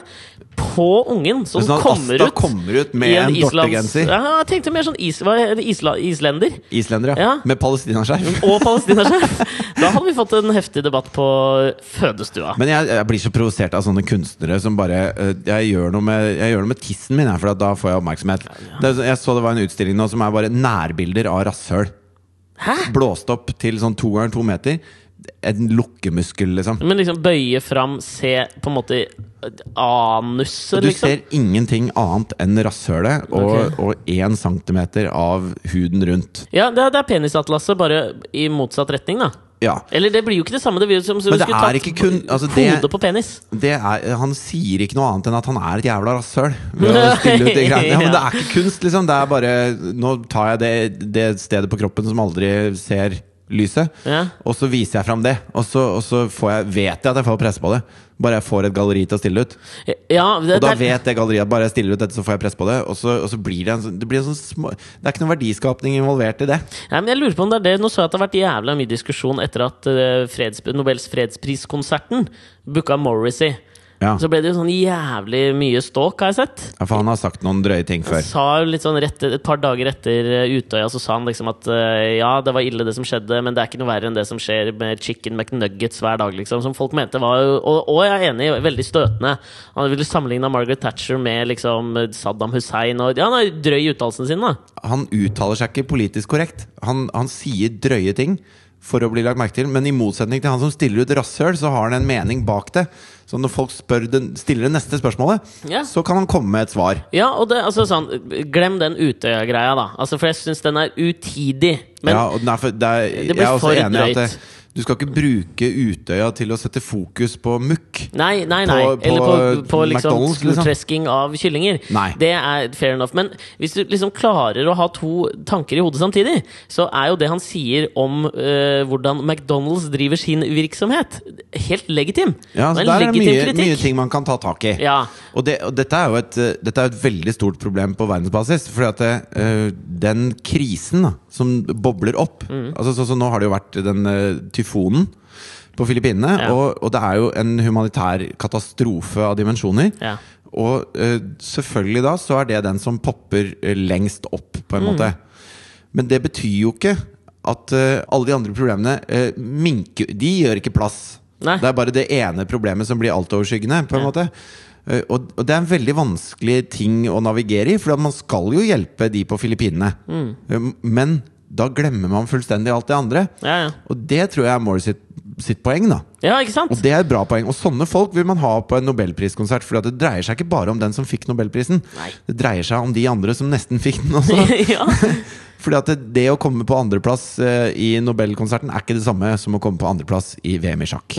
På ungen, så den Sånn at kommer Asta ut. kommer ut med I en islands- dortegenser. Ja, jeg tenkte mer sånn is, hva er det, isla, islender. Islender, ja. Ja. Med palestinaskjerf. Og *laughs* palestinaskjerf. Da hadde vi fått en heftig debatt på fødestua. Men jeg, jeg blir så provosert av sånne kunstnere som bare eh, Jeg gjør noe med, jeg gjør noe med tissen min, jeg, for at da får jeg oppmerksomhet. Det, er så- jeg så det var en utstilling nå som er bare nærbilder av rasshøl. Blåst opp til sånn to ganger to meter. En lukkemuskel, liksom. Men liksom bøye fram, se på en måte anuset, Du liksom. ser ingenting annet enn rasshølet og, Ok. og én centimeter av huden rundt. Ja, det, er- det er penisatlaset, bare i motsatt retning, da. Ja. Eller det blir jo ikke det samme. Det blir jo som som Men du det skulle er tatt ikke kun altså det, hodet på penis. det er, han sier ikke noe annet enn at han er et jævla rasshøl. Ved å stille ut de greiene. Ja, men det er ikke kunst, liksom. Det er bare Nå tar jeg det, det stedet på kroppen som aldri ser lyset. Ja. Og så viser jeg fram det, og så, og så får jeg, vet jeg at jeg får presse på det. Bare jeg får et galleri til å stille ut. ja det, Og da det er- vet det galleriet at bare jeg stiller ut dette, så får jeg press på det. Og så, og så blir det en sånn Det blir en sånn små Det er ikke noen verdiskapning involvert i det. Nei, men jeg lurer på om det er det Nå så jeg at det har vært jævla mye diskusjon etter at eh, freds, Nobels fredspriskonserten booka Morrissey. Ja, Så ble det jo sånn jævlig mye ståk, har jeg sett. ja For han har sagt noen drøye ting før. Sa jo litt sånn rett, Et par dager etter eh, Utøya så sa han liksom at eh, ja, det var ille det som skjedde, men det er ikke noe verre enn det som skjer med chicken McNuggets hver dag, liksom. Som folk mente var jo Og, og jeg er enig, i, veldig støtende. Han ville sammenligna Margaret Thatcher med liksom Saddam Hussein og Ja, han er drøy i uttalelsene sine, da. Han uttaler seg ikke politisk korrekt. Han, han sier drøye ting for å bli lagt merke til, men i motsetning til han som stiller ut rasshøl, så har han en mening bak det. Så når folk spør den, stiller det neste spørsmålet, Ja. så kan han komme med et svar. Ja, og det, altså sånn, glem den Utøya-greia, da. Altså, for jeg syns den er utidig. Men ja, og den er for, det er, Det blir jeg er også for enig i at det, drøyt. du skal ikke bruke Utøya til å sette fokus på mukk. Nei, nei, nei. På- på Eller på, på liksom McDonald's, liksom. skurtresking av kyllinger. Nei. Det er fair enough. Men hvis du liksom klarer å ha to tanker i hodet samtidig, så er jo det han sier om eh, hvordan McDonald's driver sin virksomhet, helt legitim. Ja, Og så der en er det legitim mye, kritikk. mye ting man kan ta tak i. Ja. Og, det, og dette er jo et, eh, dette er jo et veldig stort problem på verdensbasis. Fordi at eh, den krisen da, som bobler opp Mm. altså, så, så Nå har det jo vært den eh, tyfonen på Filippinene. Ja. Og, og det er jo en humanitær katastrofe av dimensjoner. Ja. Og eh, selvfølgelig da så er det den som popper eh, lengst opp, på en Mm. måte. Men det betyr jo ikke at eh, alle de andre problemene eh, minker De gjør ikke plass. Nei. Det er bare det ene problemet som blir altoverskyggende, på en Ja. måte. Eh, og, og det er en veldig vanskelig ting å navigere i, for man skal jo hjelpe de på Filippinene. Mm. Eh, men da glemmer man fullstendig alt det andre. Ja, ja. Og det tror jeg er Moore sitt, sitt poeng, da. ja, ikke sant? Og det er et bra poeng. Og sånne folk vil man ha på en nobelpriskonsert. For det dreier seg ikke bare om den som fikk nobelprisen. Nei. Det dreier seg om de andre som nesten fikk den også. *laughs* ja. Fordi at det, det å komme på andreplass eh, i Nobelkonserten er ikke det samme som å komme på andreplass i VM i *laughs* sjakk.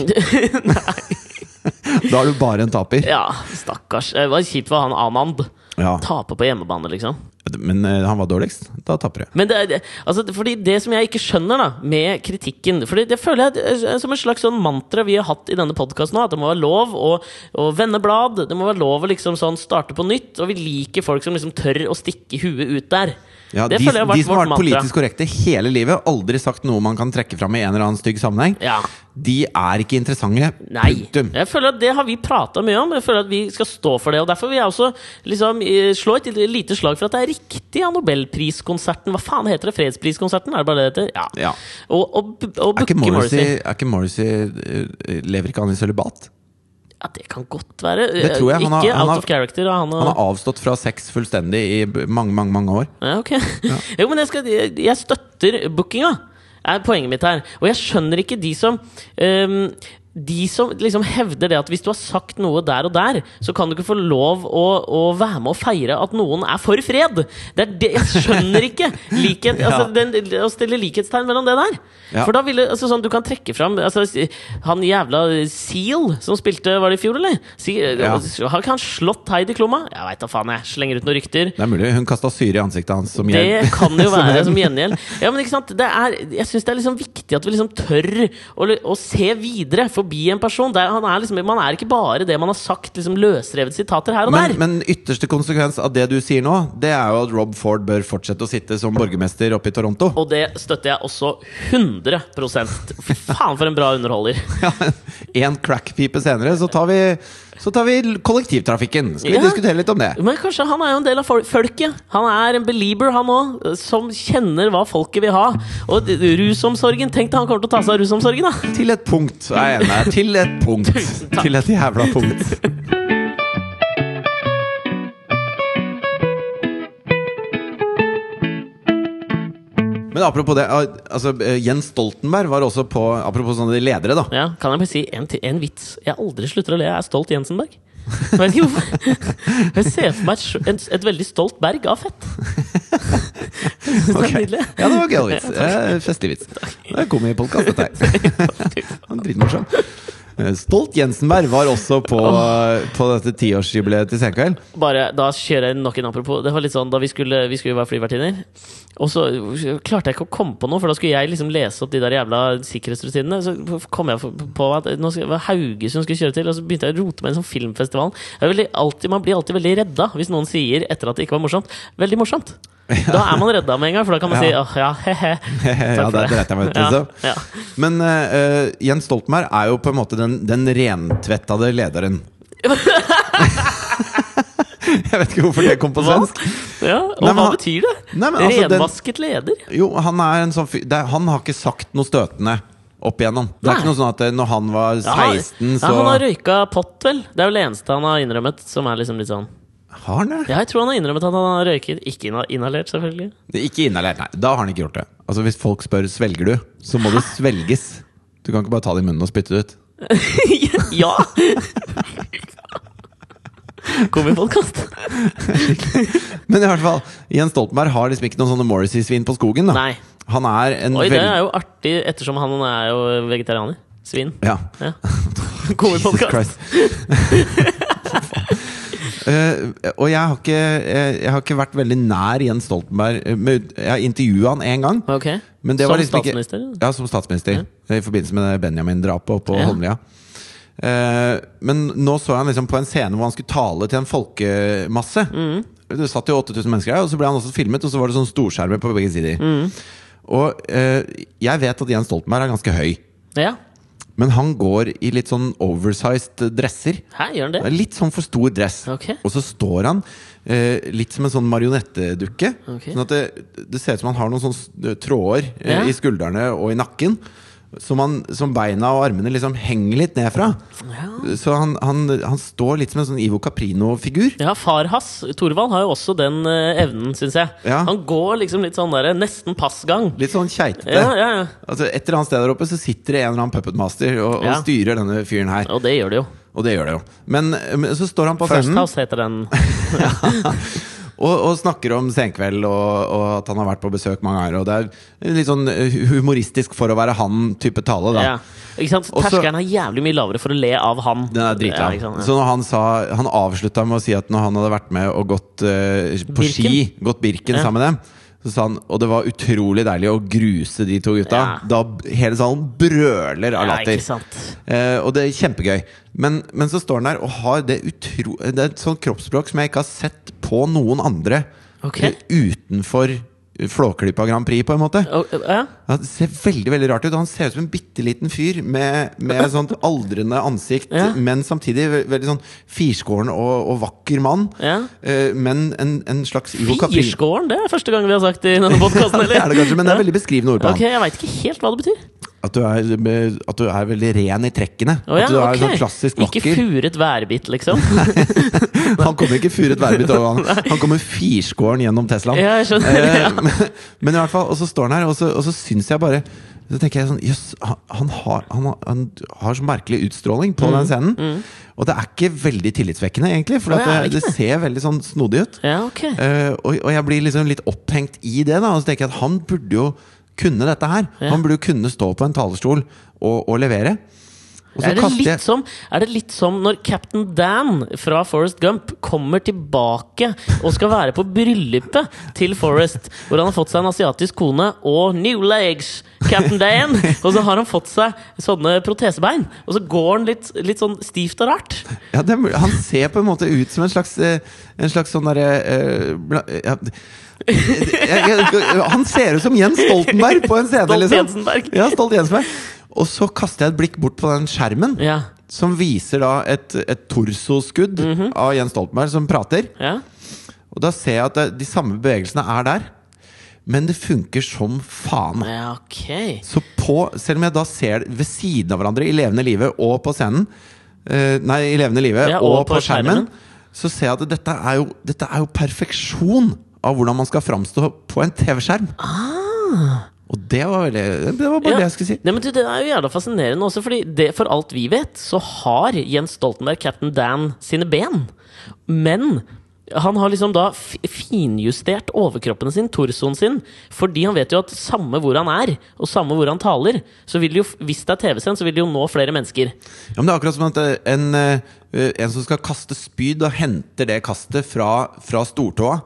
da er du bare en taper. ja, stakkars. Det var kjipt for han Anand. Ja. Tape på hjemmebane, liksom. Men eh, han var dårligst. Da taper du. Men det, er- det- altså, fordi det som jeg ikke skjønner da med kritikken Fordi det føler jeg er som en slags sånn mantra vi har hatt i denne podkasten nå. At det må være lov å, å vende blad. Det må være lov å liksom sånn starte på nytt. Og vi liker folk som liksom tør å stikke huet ut der. Ja, de, det de føler jeg som har vært har vårt vært mantra. politisk korrekte hele livet, aldri sagt noe man kan trekke fram i en eller annen stygg sammenheng, Ja. de er ikke interessante. Nei. Punktum. Jeg føler at Det har vi prata mye om. Jeg føler at Vi skal stå for det. Og Derfor vil jeg også liksom, eh, slå et lite slag for at det er riktig av Nobelpriskonserten. Hva faen heter det? Fredspriskonserten? Er det bare det det heter? Ja. Ja. Og, og, og Er ikke booke Morrissey, Morrissey. er ikke Morrissey eh, Lever ikke han i sølibat? Ja, det kan godt være. Det tror jeg. Han har- ikke han out har- of character av han og Han har avstått fra sex fullstendig i b- mange, mange mange år. ja, ok. Jo, men jeg, skal, jeg, jeg støtter bookinga, er poenget mitt her. Og jeg skjønner ikke de som ehm, de som liksom hevder det at hvis du har sagt noe der og der, så kan du ikke få lov å, å være med og feire at noen er for fred! Det er det, jeg skjønner ikke *laughs* likhet, Ja. altså, den, å stille likhetstegn mellom det der. Ja. For da ville altså, sånn, Du kan trekke fram altså, han jævla Seal som spilte Var det i fjor, eller? Seal, Ja. Har ikke han slått Heidi Klumma? Jeg veit da faen, jeg. Slenger ut noen rykter. Det er mulig hun kasta syre i ansiktet hans. Som Det hjelp. kan *laughs* jo Som være hjelp. som gjengjeld. Ja, men ikke sant? Det er, jeg syns det er liksom viktig at vi liksom tør å, å se videre forbi en person. Det er, han er liksom, man er ikke bare det man har sagt, liksom løsrevet sitater her og Men, der. men ytterste konsekvens av det du sier nå, det er jo at Rob Ford bør fortsette å sitte som borgermester oppe i Toronto. og det støtter jeg også 100 Fy faen, for en bra underholder. *laughs* Ja, en crackpipe senere, så tar vi, så tar vi kollektivtrafikken. Skal vi Ja. diskutere litt om det? Men kanskje han er jo en del av fol- folket. Han er en belieber, han òg. Som kjenner hva folket vil ha. Og d- rusomsorgen. Tenk deg han kommer til å ta seg av rusomsorgen, da! Til et punkt, er jeg enig. med deg. Til et *laughs* punkt. takk. Til et jævla punkt. Men apropos det, al- altså, eh, Jens Stoltenberg var også på Apropos sånne ledere, da. Ja, kan jeg bare si en, ti- en vits? Jeg aldri slutter å le. Jeg er stolt Jensenberg. Jeg vet ikke hvorfor. *laughs* Jeg ser for meg et, sj- en, et veldig stolt berg av *laughs* fett. *laughs* Jeg synes Ok. Det er Ja, det var gøy *laughs* vits. Eh, Festlig vits. Det er komipodkast, dette her. nydelig. Dritmorsom. Eh, Stolt Jensenberg var også på, på dette tiårsjubileet til Senkveld. Bare, da kjører jeg nok en apropos. Det var litt sånn da vi skulle, vi skulle være flyvertinner. Og så klarte jeg ikke å komme på noe, for da skulle jeg liksom lese opp de der jævla sikkerhetsrutinene. Så kom jeg på at nå skal, det var Haugesund skulle kjøre til, og så begynte jeg å rote med en sånn filmfestival. Jeg er veldig, alltid, man blir alltid veldig redda hvis noen sier etter at det ikke var morsomt. Veldig morsomt. Da er man redda med en gang, for da kan man si Ja. åh, ja, he-he. *laughs* Ja, Takk for det det. dreit jeg meg ut, Ja, liksom. ja. Men eh, Jens Stoltenberg er jo på en måte den, den rentvettede lederen. *laughs* jeg vet ikke hvorfor det kom på Hva? svensk. Ja, og Nei, men hva han- betyr det? Nei, men altså, den- Renvasket leder? Jo, han er en sånn fyr det er- Han har ikke sagt noe støtende opp igjennom. Det er Nei. ikke noe sånn at eh, når han var Ja, han- 16, så ja, Han har røyka pott, vel? Det er vel det eneste han har innrømmet. Som er liksom litt sånn Har han det? Ja, Jeg tror han har innrømmet at han har røyket. Ikke inha- inhalert, *laughs* selvfølgelig. Det er Ikke inhalert, nei. Da har han ikke gjort det. Altså Hvis folk spør svelger du, så må det svelges. Du kan ikke bare ta det i munnen og spytte det ut. ja! Kom i podkast. Men i hvert fall, Jens Stoltenberg har liksom ikke noen sånne Morrissey-svin på skogen. da Nei. Han er en Oi, det veld- er jo artig, ettersom han er jo vegetarianer. Svin. Ja. *laughs* Ja. Kom i Jesus podkast. Christ. Eh, og jeg har, ikke, eh, jeg har ikke vært veldig nær Jens Stoltenberg. eh, Med, jeg intervjua han én gang. Ok. Men det Som var liksom ikke- statsminister? Ja, som statsminister. I forbindelse med det Benjamin-drapet oppe på Ja. Holmlia. Eh, men nå så jeg han liksom på en scene hvor han skulle tale til en folkemasse. Mm. Det satt jo 8000 mennesker her, og så ble han også filmet, og så var det sånn storskjermer på begge sider. Mm. Og eh, jeg vet at Jens Stoltenberg er ganske høy, Ja. men han går i litt sånn oversized dresser. Hæ, gjør han Det er det? Litt sånn for stor dress. Ok. Og så står han eh, litt som en sånn marionettedukke. Ok. Sånn at det, det ser ut som han har noen sånne s- tråder eh, Ja. i skuldrene og i nakken. Som, han, som beina og armene liksom henger litt ned fra. Ja. Så han, han, han står litt som en sånn Ivo Caprino-figur. Ja, far hans, Thorvald, har jo også den eh, evnen, syns jeg. Ja. Han går liksom litt sånn derre nesten passgang. Litt sånn keitete. Ja, ja, ja. Altså, et eller annet sted der oppe så sitter det en eller annen puppetmaster og, og Ja. styrer denne fyren her. Og det gjør det jo. Og det gjør det jo. Men, eh, men så står han på First scenen House heter *laughs* den. Og, og snakker om Senkveld og, og at han har vært på besøk mange ganger. Og det er litt sånn eh, humoristisk for å være han-type tale, da. Ja. Ikke sant? Og så- Terskelen er jævlig mye lavere for å le av han. Den er Ja, dritlav. ikke sant? Så når han sa Han avslutta med å si at når han hadde vært med og gått eh, på Birken. ski, gått Birken Ja. sammen med dem, så sa han Og det var utrolig deilig å gruse de to gutta. Ja. Da b- hele salen brøler Ja, av ja, latter. ikke sant. Eh, og det er kjempegøy. Men, men så står han der og har det utro... Det er et sånt kroppsspråk som jeg ikke har sett på noen andre Ok. eh, utenfor Flåklypa Grand Prix, på en måte. Og, eh, ja. Han ser veldig veldig rart ut. Han ser ut som en bitte liten fyr med, *laughs* med et sånt aldrende ansikt, Ja. men samtidig ve- veldig sånn firskåren og, og vakker mann. Ja. Eh, men en, en slags Ivo Capri- Firskåren, det er første gang vi har sagt det i denne *laughs* Ja, det podkasten, eller? er det kanskje, men det er veldig beskrivende ord på Ok, jeg veit ikke helt hva det betyr. han. At du, er, at du er veldig ren i trekkene. Å, ja, at du er ok. sånn klassisk vakker. Ikke furet værbit, liksom. *laughs* Han kommer ikke furet værbitt over han. Han kommer firskåren gjennom Teslaen. Ja, jeg skjønner, Eh, men, men i hvert fall, og så står han her, og så, og så syns jeg bare Så tenker jeg sånn Jøss, han, han, har- han, har- han har så merkelig utstråling Mm. på den scenen. Og det er ikke veldig tillitsvekkende, egentlig, for Nei, at det er det, det ser veldig sånn snodig ut. Ja, ok. Eh, og, og jeg blir liksom litt opphengt i det, da. Og så tenker jeg at han burde jo kunne dette her. Ja. Han burde jo kunne stå på en talerstol og, og levere. Og så Er det, kaster jeg- litt som, er det litt som når Captain Dan fra Forrest Gump kommer tilbake og skal være på bryllupet til Forrest, hvor han har fått seg en asiatisk kone og new legs, Captain Dan! Og så har han fått seg sånne protesebein, og så går han litt, litt sånn stivt og rart. Ja, det, er mul- han ser på en måte ut som en slags eh, En slags sånn derre eh, bla- ja, jeg, jeg, Han ser ut som Jens Stoltenberg på en scene, Stolt liksom. Jensenberg. Ja, Stolt Jensenberg. Og så kaster jeg et blikk bort på den skjermen, Ja. som viser da et, et torsoskudd Mhm. av Jens Stoltenberg som prater. ja. Og da ser jeg at det, de samme bevegelsene er der, men det funker som faen. Ja, ok. Så på, selv om jeg da ser det ved siden av hverandre i levende livet og på scenen eh, Nei, i levende livet Ja, og, på, skjermen, så ser jeg at dette er, jo, dette er jo perfeksjon av hvordan man skal framstå på en TV-skjerm. Og det var, veldig, det var bare det jeg skulle si. Nei, men du, det er jo jævla fascinerende også, fordi det, for alt vi vet, så har Jens Stoltenberg Captain Dan sine ben. Men Han har liksom da f- finjustert overkroppen sin, torsoen sin, fordi han vet jo at samme hvor han er, og samme hvor han taler, så vil det jo, f- hvis det er TV-sendt, så vil det jo nå flere mennesker. Ja, men det er akkurat som at eh, en, eh, en som skal kaste spyd og henter det kastet fra, fra stortåa,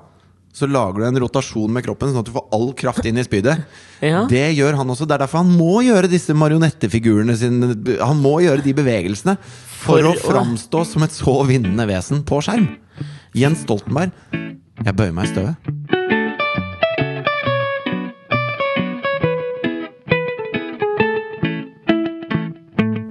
så lager du en rotasjon med kroppen sånn at du får all kraft inn i spydet. *laughs* Ja. Det gjør han også. Det er derfor han må gjøre disse marionettefigurene sine Han må gjøre de bevegelsene for, For å å- framstå som et så vinnende vesen på skjerm. Jens Stoltenberg. Jeg bøyer meg i støvet.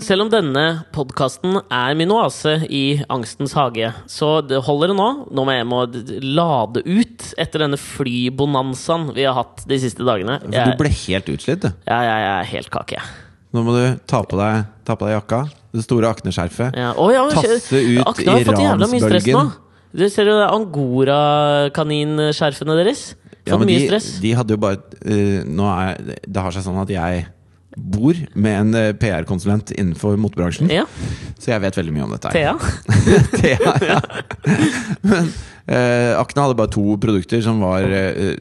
Selv om denne podkasten er min oase i angstens hage, så det holder det nå. Nå må jeg må d- d- lade ut etter denne flybonanzaen vi har hatt de siste dagene. For du Jeg, ble helt utslitt, du. ja, jeg, jeg er helt kake, jeg. Nå må du ta på deg, ta på deg jakka. Det store akneskjerfet. Ja. Å, ja, men Tasse kjø- ut Akne har i fått jævla mye stress nå. ransbølgen. Du ser jo det angorakaninskjerfene deres. Fått Ja, men mye de, stress. de hadde jo bare eh, Nå er Det har seg sånn at jeg bor med en eh, PR-konsulent innenfor motebransjen, Ja. så jeg vet veldig mye om dette. her Thea. *laughs* Thea, ja. Men eh, Akne hadde bare to produkter som var eh,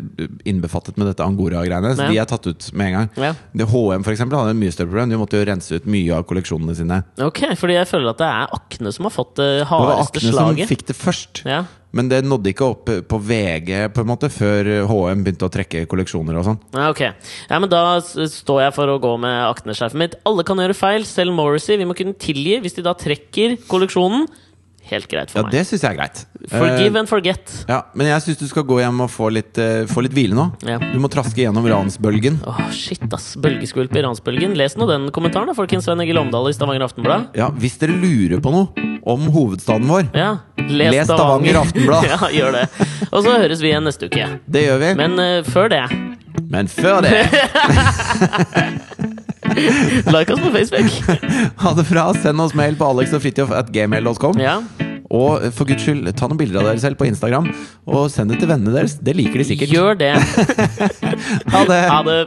innbefattet med dette angora-greiene. Så Ja. de er tatt ut med en gang. Ja. Det HM for eksempel, hadde en mye større problem. De måtte jo rense ut mye av kolleksjonene sine. Ok, fordi jeg føler at det er akne som har fått det Det var hardeste Akne som slaget. fikk det først. Ja. Men det nådde ikke opp eh, på VG på en måte før eh, HM begynte å trekke kolleksjoner og sånn. Ja, ok. Ja, men da s- står jeg for å gå med akneskjerfet mitt. Alle kan gjøre feil, selv Morrissey. Vi må kunne tilgi hvis de da trekker kolleksjonen. Helt greit for Ja, meg. det Eh, syns jeg er greit. Forgive and forget. Ja, Men jeg syns du skal gå hjem og få litt, eh, få litt hvile nå. Ja. Du må traske gjennom ransbølgen. Åh, shit, ass. Bølgeskvulp i ransbølgen. Les nå den kommentaren, da, folkens. Svein Egil Omdal i Stavanger Aftenblad. Ja, Hvis dere lurer på noe om hovedstaden vår, Ja, Les Stavanger Aftenblad. *laughs* ja, gjør det. Og så høres vi igjen neste uke. det gjør vi. Men eh, før det, Men før det, like oss på *laughs* Facebook. ha det fra. Send oss mail på alexogfritjof.gmail.com. Ja. Og eh, for guds skyld, ta noen bilder av dere selv på Instagram, og send det til vennene deres. Det liker de sikkert. Gjør det. *laughs* Ha det! Ha det.